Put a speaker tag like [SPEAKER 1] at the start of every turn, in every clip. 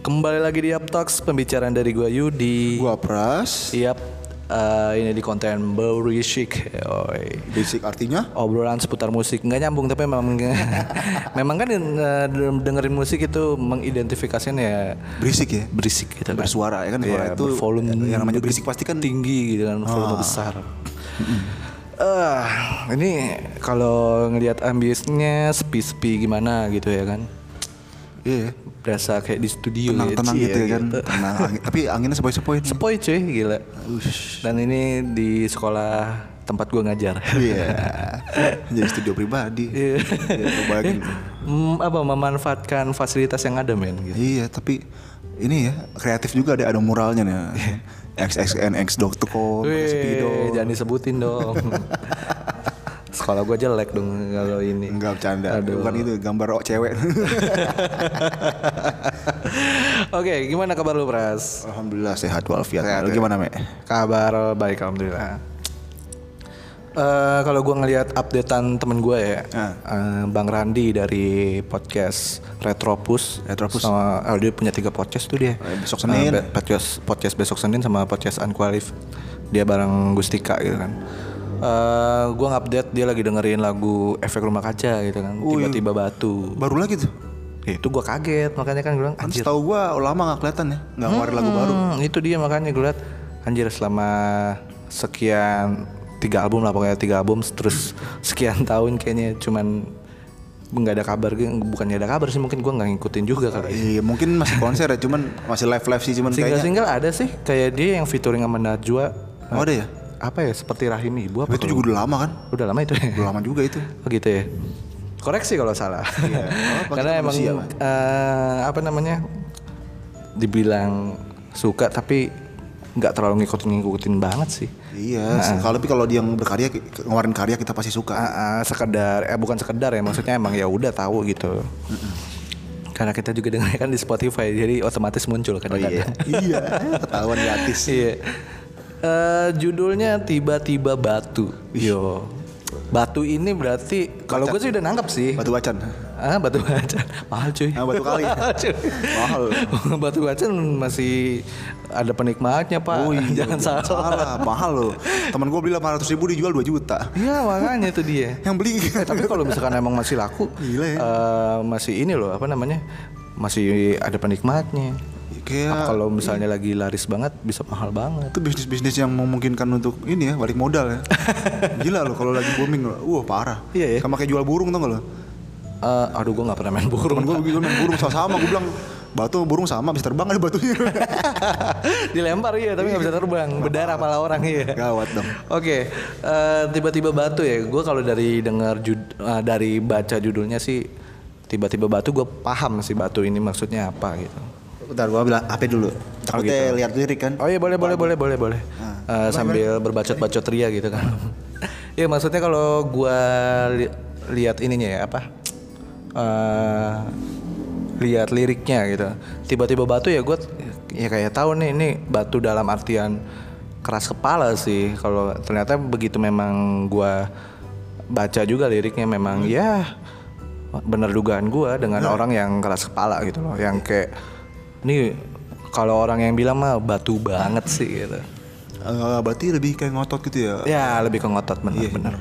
[SPEAKER 1] Kembali lagi di Uptalks, pembicaraan dari gua Yudi.
[SPEAKER 2] Gua Pras.
[SPEAKER 1] Yap, eh, ini di konten Berisik. Yoi.
[SPEAKER 2] Basic artinya
[SPEAKER 1] Obrolan seputar musik nggak nyambung tapi memang memang kan eh, dengerin musik itu mengidentifikasinya ya
[SPEAKER 2] berisik ya.
[SPEAKER 1] berisik gitu kan.
[SPEAKER 2] Bersuara ya kan suara
[SPEAKER 1] Iya,
[SPEAKER 2] itu
[SPEAKER 1] volume
[SPEAKER 2] yang namanya berisik pasti kan
[SPEAKER 1] tinggi gitu kan
[SPEAKER 2] Ah.
[SPEAKER 1] volume besar. Eh, ini kalau ngelihat ambience-nya sepi-sepi gimana gitu ya kan.
[SPEAKER 2] iya
[SPEAKER 1] Berasa kayak di studio ya,
[SPEAKER 2] tenang-tenang
[SPEAKER 1] cie,
[SPEAKER 2] gitu ya kan. Tenang. angin- Tapi anginnya sepoi-sepoi. nih.
[SPEAKER 1] Sepoi cuy, gila. Dan ini di sekolah tempat gua ngajar.
[SPEAKER 2] Iya. Jadi studio pribadi. Iya. lu bayangin.
[SPEAKER 1] Hmm, apa memanfaatkan fasilitas yang ada men gitu.
[SPEAKER 2] Iya, tapi ini ya kreatif juga ada ada muralnya nih. XXNX Doctor
[SPEAKER 1] Iya. Wih, jangan disebutin dong. sekolah gua jelek dong kalau ini.
[SPEAKER 2] Enggak bercanda.
[SPEAKER 1] Aduh.
[SPEAKER 2] Bukan itu gambar oh, cewek.
[SPEAKER 1] Oke, gimana kabar lu, Pras?
[SPEAKER 2] Alhamdulillah sehat walafiat.
[SPEAKER 1] Sehat,
[SPEAKER 2] Lu
[SPEAKER 1] ya.
[SPEAKER 2] gimana, Me?
[SPEAKER 1] Kabar baik alhamdulillah. Eh kalau gua ngelihat updatean temen gua ya,
[SPEAKER 2] Ah.
[SPEAKER 1] eh, Bang Randi dari podcast Retropus,
[SPEAKER 2] Retropus.
[SPEAKER 1] sama oh, dia punya tiga podcast tuh dia.
[SPEAKER 2] Eh, besok Senin.
[SPEAKER 1] Eh, be- podcast podcast besok Senin sama podcast Unqualif dia bareng Gustika gitu kan. Eh gua ngupdate dia lagi dengerin lagu Efek Rumah Kaca gitu kan, tiba-tiba batu. Ya,
[SPEAKER 2] Baru lagi tuh.
[SPEAKER 1] Itu gua kaget, makanya kan gue bilang anjir.
[SPEAKER 2] Setahu gua lama nggak kelihatan ya, nggak ngeluarin lagu baru.
[SPEAKER 1] Hmm, itu dia makanya gue liat anjir selama sekian tiga album lah pokoknya tiga album terus sekian tahun kayaknya cuman nggak ada kabar gitu. bukannya ada kabar sih mungkin gue nggak ngikutin juga kali
[SPEAKER 2] Iya mungkin masih konser ya cuman masih live live sih cuman
[SPEAKER 1] single
[SPEAKER 2] kayaknya
[SPEAKER 1] single ada sih kayak dia yang featuring sama Najwa
[SPEAKER 2] oh, ada ya.
[SPEAKER 1] apa ya seperti rahim ibu apa
[SPEAKER 2] Tapi itu juga udah lama kan?
[SPEAKER 1] udah lama itu ya?
[SPEAKER 2] Udah lama juga itu.
[SPEAKER 1] Oh gitu ya. Koreksi kalau
[SPEAKER 2] Iya.
[SPEAKER 1] salah.
[SPEAKER 2] apa,
[SPEAKER 1] Karena
[SPEAKER 2] kita
[SPEAKER 1] emang
[SPEAKER 2] manusia,
[SPEAKER 1] eh, apa namanya? Dibilang suka tapi nggak terlalu ngikutin-ngikutin banget sih.
[SPEAKER 2] Iya. se- Kalau tapi kalau dia yang berkarya ki- ngeluarin karya kita pasti suka.
[SPEAKER 1] Ah, ah, sekedar eh bukan sekedar ya maksudnya emang ya udah tahu gitu. Karena kita juga dengarkan di Spotify jadi otomatis muncul kadang-kadang.
[SPEAKER 2] iya. Ketahuan gratis.
[SPEAKER 1] Iya. Eh, judulnya tiba-tiba batu. Yo. Batu ini berarti kalau gue sih udah nangkep sih.
[SPEAKER 2] Batu wacan.
[SPEAKER 1] Ah, batu bacan mahal cuy.
[SPEAKER 2] Ah, batu kali.
[SPEAKER 1] Mahal, cuy.
[SPEAKER 2] Mahal.
[SPEAKER 1] batu bacan masih ada penikmatnya pak. Jangan salah.
[SPEAKER 2] Salah, mahal loh. Temen gue beli 800 ribu dijual 2 juta.
[SPEAKER 1] Iya makanya itu dia.
[SPEAKER 2] Yang beli kan?
[SPEAKER 1] Eh, tapi kalau misalkan emang masih laku,
[SPEAKER 2] Gila ya.
[SPEAKER 1] eh, masih ini loh apa namanya, masih ada penikmatnya.
[SPEAKER 2] Ya, kayak
[SPEAKER 1] Kalau misalnya lagi laris banget, bisa mahal banget.
[SPEAKER 2] itu bisnis-bisnis yang memungkinkan untuk ini ya balik modal ya. Gila loh kalau lagi booming loh. Wah, parah.
[SPEAKER 1] Iya, ya.
[SPEAKER 2] Sama kayak jual burung tau gak lo?
[SPEAKER 1] Eh, aduh gue nggak pernah main burung.
[SPEAKER 2] Temen gue begitu main burung sama-sama gue bilang batu sama burung sama bisa terbang ada batunya.
[SPEAKER 1] Dilempar iya, tapi nggak bisa terbang. Berdarah pala orang iya.
[SPEAKER 2] Gawat dong.
[SPEAKER 1] Oke, eh, tiba-tiba batu ya. Gue kalau dari dengar jud- eh, dari baca judulnya sih tiba-tiba batu gue paham sih batu ini maksudnya apa gitu.
[SPEAKER 2] Bentar gua bilang HP dulu. Takutnya lihat lirik kan.
[SPEAKER 1] Oh iya boleh boleh boleh boleh boleh. Eh, sambil berbacot-bacot ria gitu kan. Iya maksudnya kalau gue lihat ininya ya apa? Eh, lihat liriknya gitu. Tiba-tiba batu ya gue ya kayak tahu nih ini batu dalam artian keras kepala sih. Kalau ternyata begitu memang gue baca juga liriknya memang ya bener dugaan gua dengan orang yang keras kepala gitu loh yang kayak ini kalau orang yang bilang mah batu banget sih gitu
[SPEAKER 2] Eh, berarti lebih kayak ngotot gitu ya.
[SPEAKER 1] ya lebih ke ngotot bener-bener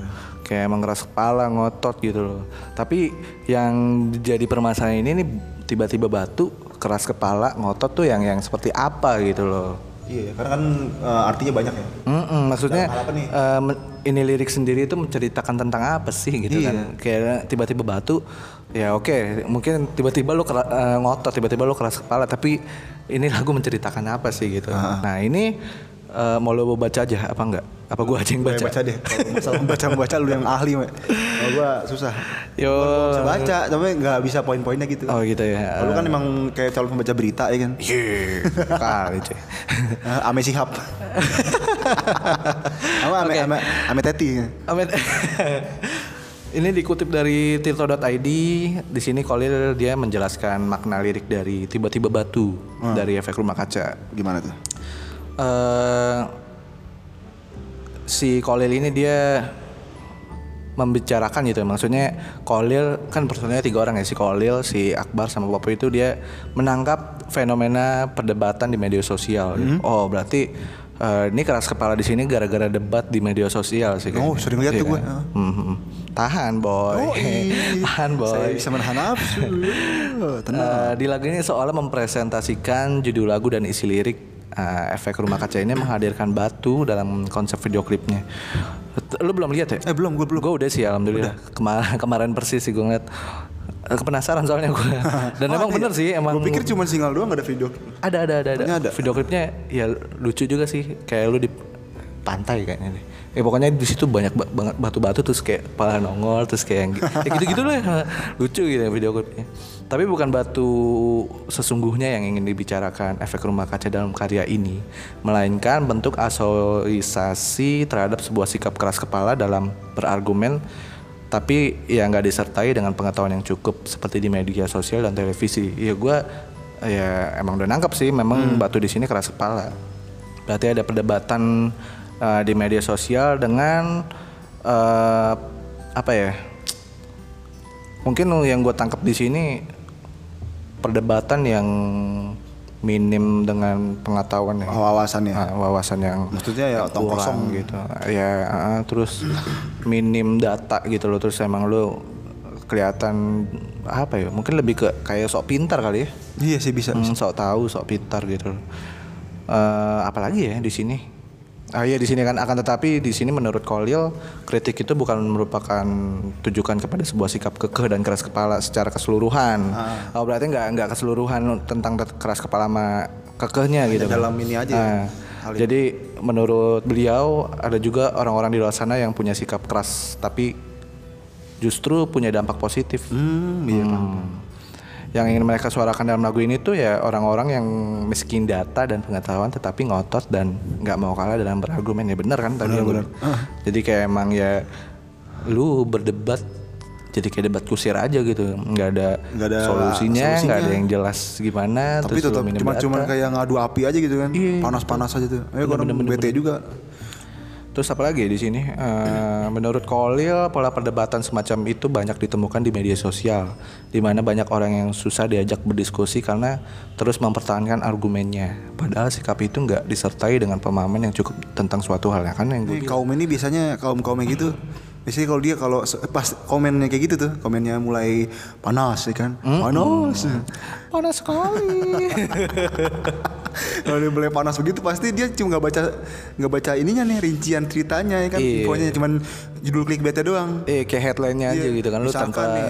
[SPEAKER 1] kayak emang keras kepala ngotot gitu loh tapi yang jadi permasalahan ini nih tiba-tiba batu keras kepala ngotot tuh yang yang seperti apa gitu loh
[SPEAKER 2] Iya, karena kan eh, artinya banyak ya.
[SPEAKER 1] Mm-mm, maksudnya
[SPEAKER 2] Dalam hal apa nih?
[SPEAKER 1] eh, men- ini lirik sendiri itu menceritakan tentang apa sih gitu kan?
[SPEAKER 2] Iya.
[SPEAKER 1] Kayak tiba-tiba batu, ya oke, mungkin tiba-tiba lo kera- eh, ngotot, tiba-tiba lo keras kepala, tapi ini lagu menceritakan apa sih gitu?
[SPEAKER 2] Ah.
[SPEAKER 1] Nah ini eh, mau lo baca aja apa enggak? Apa gua aja yang
[SPEAKER 2] Baca,
[SPEAKER 1] baca?
[SPEAKER 2] baca deh. Kalau Masalah baca-baca lu yang ahli, Eh. me. Kalau gua susah.
[SPEAKER 1] Yo,
[SPEAKER 2] Gua bisa baca, tapi nggak bisa poin-poinnya gitu.
[SPEAKER 1] oh gitu ya.
[SPEAKER 2] Kalau lu kan emang kayak calon pembaca berita ya kan.
[SPEAKER 1] Iya, kali cuy.
[SPEAKER 2] Eh, Ame Sihab. Apa ame, ame, ame Teti.
[SPEAKER 1] Amit. Ini dikutip dari tirto.id. Di sini Kolil dia menjelaskan makna lirik dari tiba-tiba batu
[SPEAKER 2] Ah.
[SPEAKER 1] dari efek rumah kaca.
[SPEAKER 2] Gimana tuh?
[SPEAKER 1] eh si Kolil ini dia membicarakan gitu ya. maksudnya Kolil kan personilnya tiga orang ya si Kolil si Akbar sama Popo itu dia menangkap fenomena perdebatan di media sosial gitu.
[SPEAKER 2] Hmm.
[SPEAKER 1] oh berarti eh, ini keras kepala di sini gara-gara debat di media sosial sih
[SPEAKER 2] Oh,
[SPEAKER 1] kayaknya.
[SPEAKER 2] sering lihat
[SPEAKER 1] Iya
[SPEAKER 2] tuh gue.
[SPEAKER 1] kan? Mhm. tahan boy
[SPEAKER 2] ih.
[SPEAKER 1] tahan boy
[SPEAKER 2] iya. Saya Eh, bisa menahan nafsu. Tenang.
[SPEAKER 1] Eh, di lagu ini seolah mempresentasikan judul lagu dan isi lirik Eh, efek rumah kaca ini menghadirkan batu dalam konsep video klipnya. T- Lu belum lihat ya?
[SPEAKER 2] Eh, belum, gue belum.
[SPEAKER 1] Gue udah sih alhamdulillah. Kemar- kemarin persis sih gue ngeliat. Eh, Kepenasaran soalnya gue. Dan emang bener sih emang
[SPEAKER 2] Gue Oh, iya. pikir cuma single doang gak ada video.
[SPEAKER 1] ada ada ada ada.
[SPEAKER 2] Pokoknya ada.
[SPEAKER 1] Video klipnya ya lucu juga sih. Kayak lu di pantai kayaknya deh. Eh pokoknya di situ banyak ba- banget batu-batu terus kayak kepala nongol terus kayak yang gi- ya gitu-gitu lah lucu gitu ya video klipnya. Tapi bukan batu sesungguhnya yang ingin dibicarakan efek rumah kaca dalam karya ini, melainkan bentuk asoisasi terhadap sebuah sikap keras kepala dalam berargumen tapi ya nggak disertai dengan pengetahuan yang cukup seperti di media sosial dan televisi. Ya gua ya emang udah nangkep sih memang batu di sini keras kepala. Berarti ada perdebatan eh, di media sosial dengan eh, apa ya? Mungkin yang gue tangkap di sini perdebatan yang minim dengan pengetahuan ya.
[SPEAKER 2] Wawasannya.
[SPEAKER 1] Ah, wawasan yang
[SPEAKER 2] Maksudnya ya
[SPEAKER 1] yang
[SPEAKER 2] tong
[SPEAKER 1] kurang
[SPEAKER 2] kosong.
[SPEAKER 1] gitu ya ah, terus minim data gitu loh terus emang lu kelihatan apa ya mungkin lebih ke kayak sok pintar kali ya
[SPEAKER 2] Iya sih bisa.
[SPEAKER 1] Hmm, sok tahu sok pintar gitu loh. Eh, apalagi ya di sini ah iya di sini kan akan tetapi di sini menurut Kolil kritik itu bukan merupakan tujukan kepada sebuah sikap kekeh dan keras kepala secara keseluruhan
[SPEAKER 2] Ah.
[SPEAKER 1] oh berarti nggak nggak keseluruhan tentang tet- keras kepala sama kekehnya gitu kan.
[SPEAKER 2] dalam ini aja ya,
[SPEAKER 1] Nah, jadi menurut beliau ada juga orang-orang di luar sana yang punya sikap keras tapi justru punya dampak positif
[SPEAKER 2] Hmm, iya.
[SPEAKER 1] Hmm. Yang ingin mereka suarakan dalam lagu ini tuh ya orang-orang yang miskin data dan pengetahuan tetapi ngotot dan nggak mau kalah dalam berargumen ya bener kan tadi yang gue bilang.
[SPEAKER 2] Ah.
[SPEAKER 1] Jadi kayak emang ya lu berdebat jadi kayak debat kusir aja gitu nggak ada,
[SPEAKER 2] Nggak ada
[SPEAKER 1] solusinya nggak ada
[SPEAKER 2] solusinya.
[SPEAKER 1] yang jelas gimana
[SPEAKER 2] Tapi
[SPEAKER 1] terus lu
[SPEAKER 2] tetap
[SPEAKER 1] minim
[SPEAKER 2] cuma
[SPEAKER 1] data.
[SPEAKER 2] cuma kayak ngadu api aja gitu kan.
[SPEAKER 1] Iya.
[SPEAKER 2] Panas-panas aja tuh. Eh,
[SPEAKER 1] Bener,
[SPEAKER 2] orang
[SPEAKER 1] bener,
[SPEAKER 2] bete juga.
[SPEAKER 1] Terus apa lagi di sini? Eh, menurut Kolil, pola perdebatan semacam itu banyak ditemukan di media sosial, di mana banyak orang yang susah diajak berdiskusi karena terus mempertahankan argumennya. Padahal sikap itu nggak disertai dengan pemahaman yang cukup tentang suatu hal ya kan yang gue
[SPEAKER 2] Ini kaum ini biasanya kaum kaum gitu. Biasanya kalau dia kalau se- pas komennya kayak gitu tuh, komennya mulai panas ya kan.
[SPEAKER 1] Hmm?
[SPEAKER 2] Panas.
[SPEAKER 1] panas sekali.
[SPEAKER 2] kalau dia mulai panas begitu pasti dia cuma nggak baca nggak baca ininya nih rincian ceritanya ya kan.
[SPEAKER 1] Iya.
[SPEAKER 2] Infonya cuman judul clickbaitnya doang.
[SPEAKER 1] eh kayak headline-nya aja gitu kan lu
[SPEAKER 2] Iya, Misalkan
[SPEAKER 1] tanpa
[SPEAKER 2] nih,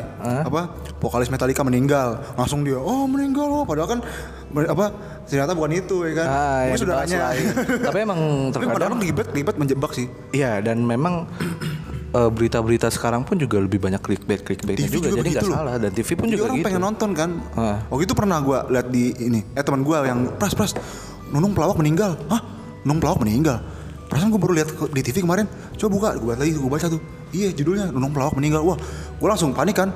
[SPEAKER 2] apa vokalis Metallica meninggal langsung dia oh meninggal oh padahal kan ber- apa ternyata bukan itu ya kan
[SPEAKER 1] Ah,
[SPEAKER 2] Mungkin
[SPEAKER 1] yang
[SPEAKER 2] sudah
[SPEAKER 1] dibahas
[SPEAKER 2] nanya
[SPEAKER 1] lain. Tapi emang
[SPEAKER 2] tapi
[SPEAKER 1] terkadang
[SPEAKER 2] kadang ribet ribet menjebak sih
[SPEAKER 1] Iya dan memang eh, berita-berita sekarang pun juga lebih banyak clickbait clickbait
[SPEAKER 2] TV
[SPEAKER 1] juga,
[SPEAKER 2] juga
[SPEAKER 1] jadi nggak
[SPEAKER 2] begitu loh.
[SPEAKER 1] salah dan TV pun
[SPEAKER 2] Jadi
[SPEAKER 1] juga
[SPEAKER 2] orang
[SPEAKER 1] gitu.
[SPEAKER 2] pengen nonton kan
[SPEAKER 1] Ah.
[SPEAKER 2] waktu itu pernah gua lihat di ini eh teman gua yang pras pras nunung pelawak meninggal hah nunung pelawak meninggal perasaan gua baru lihat ke- di TV kemarin coba buka gua lihat lagi gua baca tuh iya judulnya nunung pelawak meninggal wah gua langsung panik kan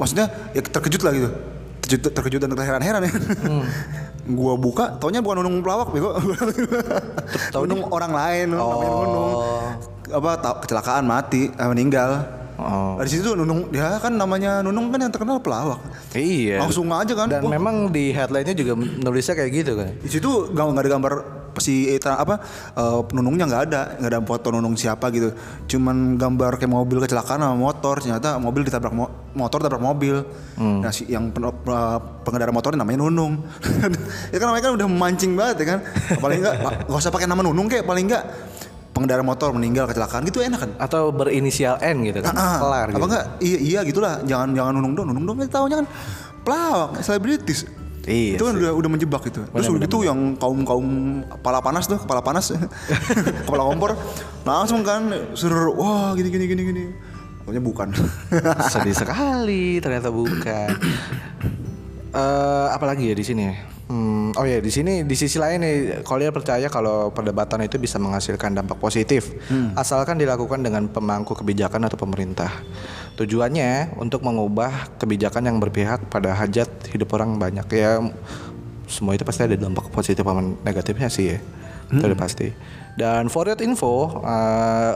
[SPEAKER 2] maksudnya ya terkejut lah gitu terkejut, terkejut dan terheran-heran ya
[SPEAKER 1] Hmm.
[SPEAKER 2] gua buka taunya bukan nunung pelawak bego nunung orang lain namanya nunung apa tau- kecelakaan mati eh, meninggal
[SPEAKER 1] Oh.
[SPEAKER 2] dari situ Nunung, ya kan namanya Nunung kan yang terkenal pelawak.
[SPEAKER 1] Iya.
[SPEAKER 2] Langsung aja kan.
[SPEAKER 1] Dan
[SPEAKER 2] wah,
[SPEAKER 1] memang di headline-nya juga nulisnya kayak gitu kan.
[SPEAKER 2] di situ nggak nggak ada gambar si eh, tra- apa eh, Nunungnya nggak ada, nggak ada foto Nunung siapa gitu. Cuman gambar kayak mobil kecelakaan sama motor. Ternyata mobil ditabrak mo- motor tabrak mobil.
[SPEAKER 1] Hmm.
[SPEAKER 2] Nah, si yang pen- eh, pengendara motornya namanya Nunung. ya kan namanya kan udah memancing banget ya kan. Paling enggak nggak usah pakai nama Nunung kayak paling enggak pengendara motor meninggal kecelakaan gitu enak kan.
[SPEAKER 1] Atau berinisial N gitu kan.
[SPEAKER 2] Ah,
[SPEAKER 1] Kelar
[SPEAKER 2] apa
[SPEAKER 1] gitu.
[SPEAKER 2] enggak iya iya gitulah jangan jangan nunung dong nunung dong kita tahunya kan pelawak selebritis
[SPEAKER 1] Iya
[SPEAKER 2] itu kan udah udah menjebak gitu terus udah gitu yang kaum kaum kepala panas tuh kepala panas kepala kompor langsung kan suruh wah gini gini gini gini pokoknya bukan
[SPEAKER 1] Sedih sekali ternyata bukan. Eh, apalagi ya di sini. ya? Hmm, oh ya di sini di sisi lain nih Collier percaya kalau perdebatan itu bisa menghasilkan dampak positif asalkan dilakukan dengan pemangku kebijakan atau pemerintah. Tujuannya untuk mengubah kebijakan yang berpihak pada hajat hidup orang banyak ya. Semua itu pasti ada dampak positif sama negatifnya sih ya. Itu udah pasti. Dan for your info eh,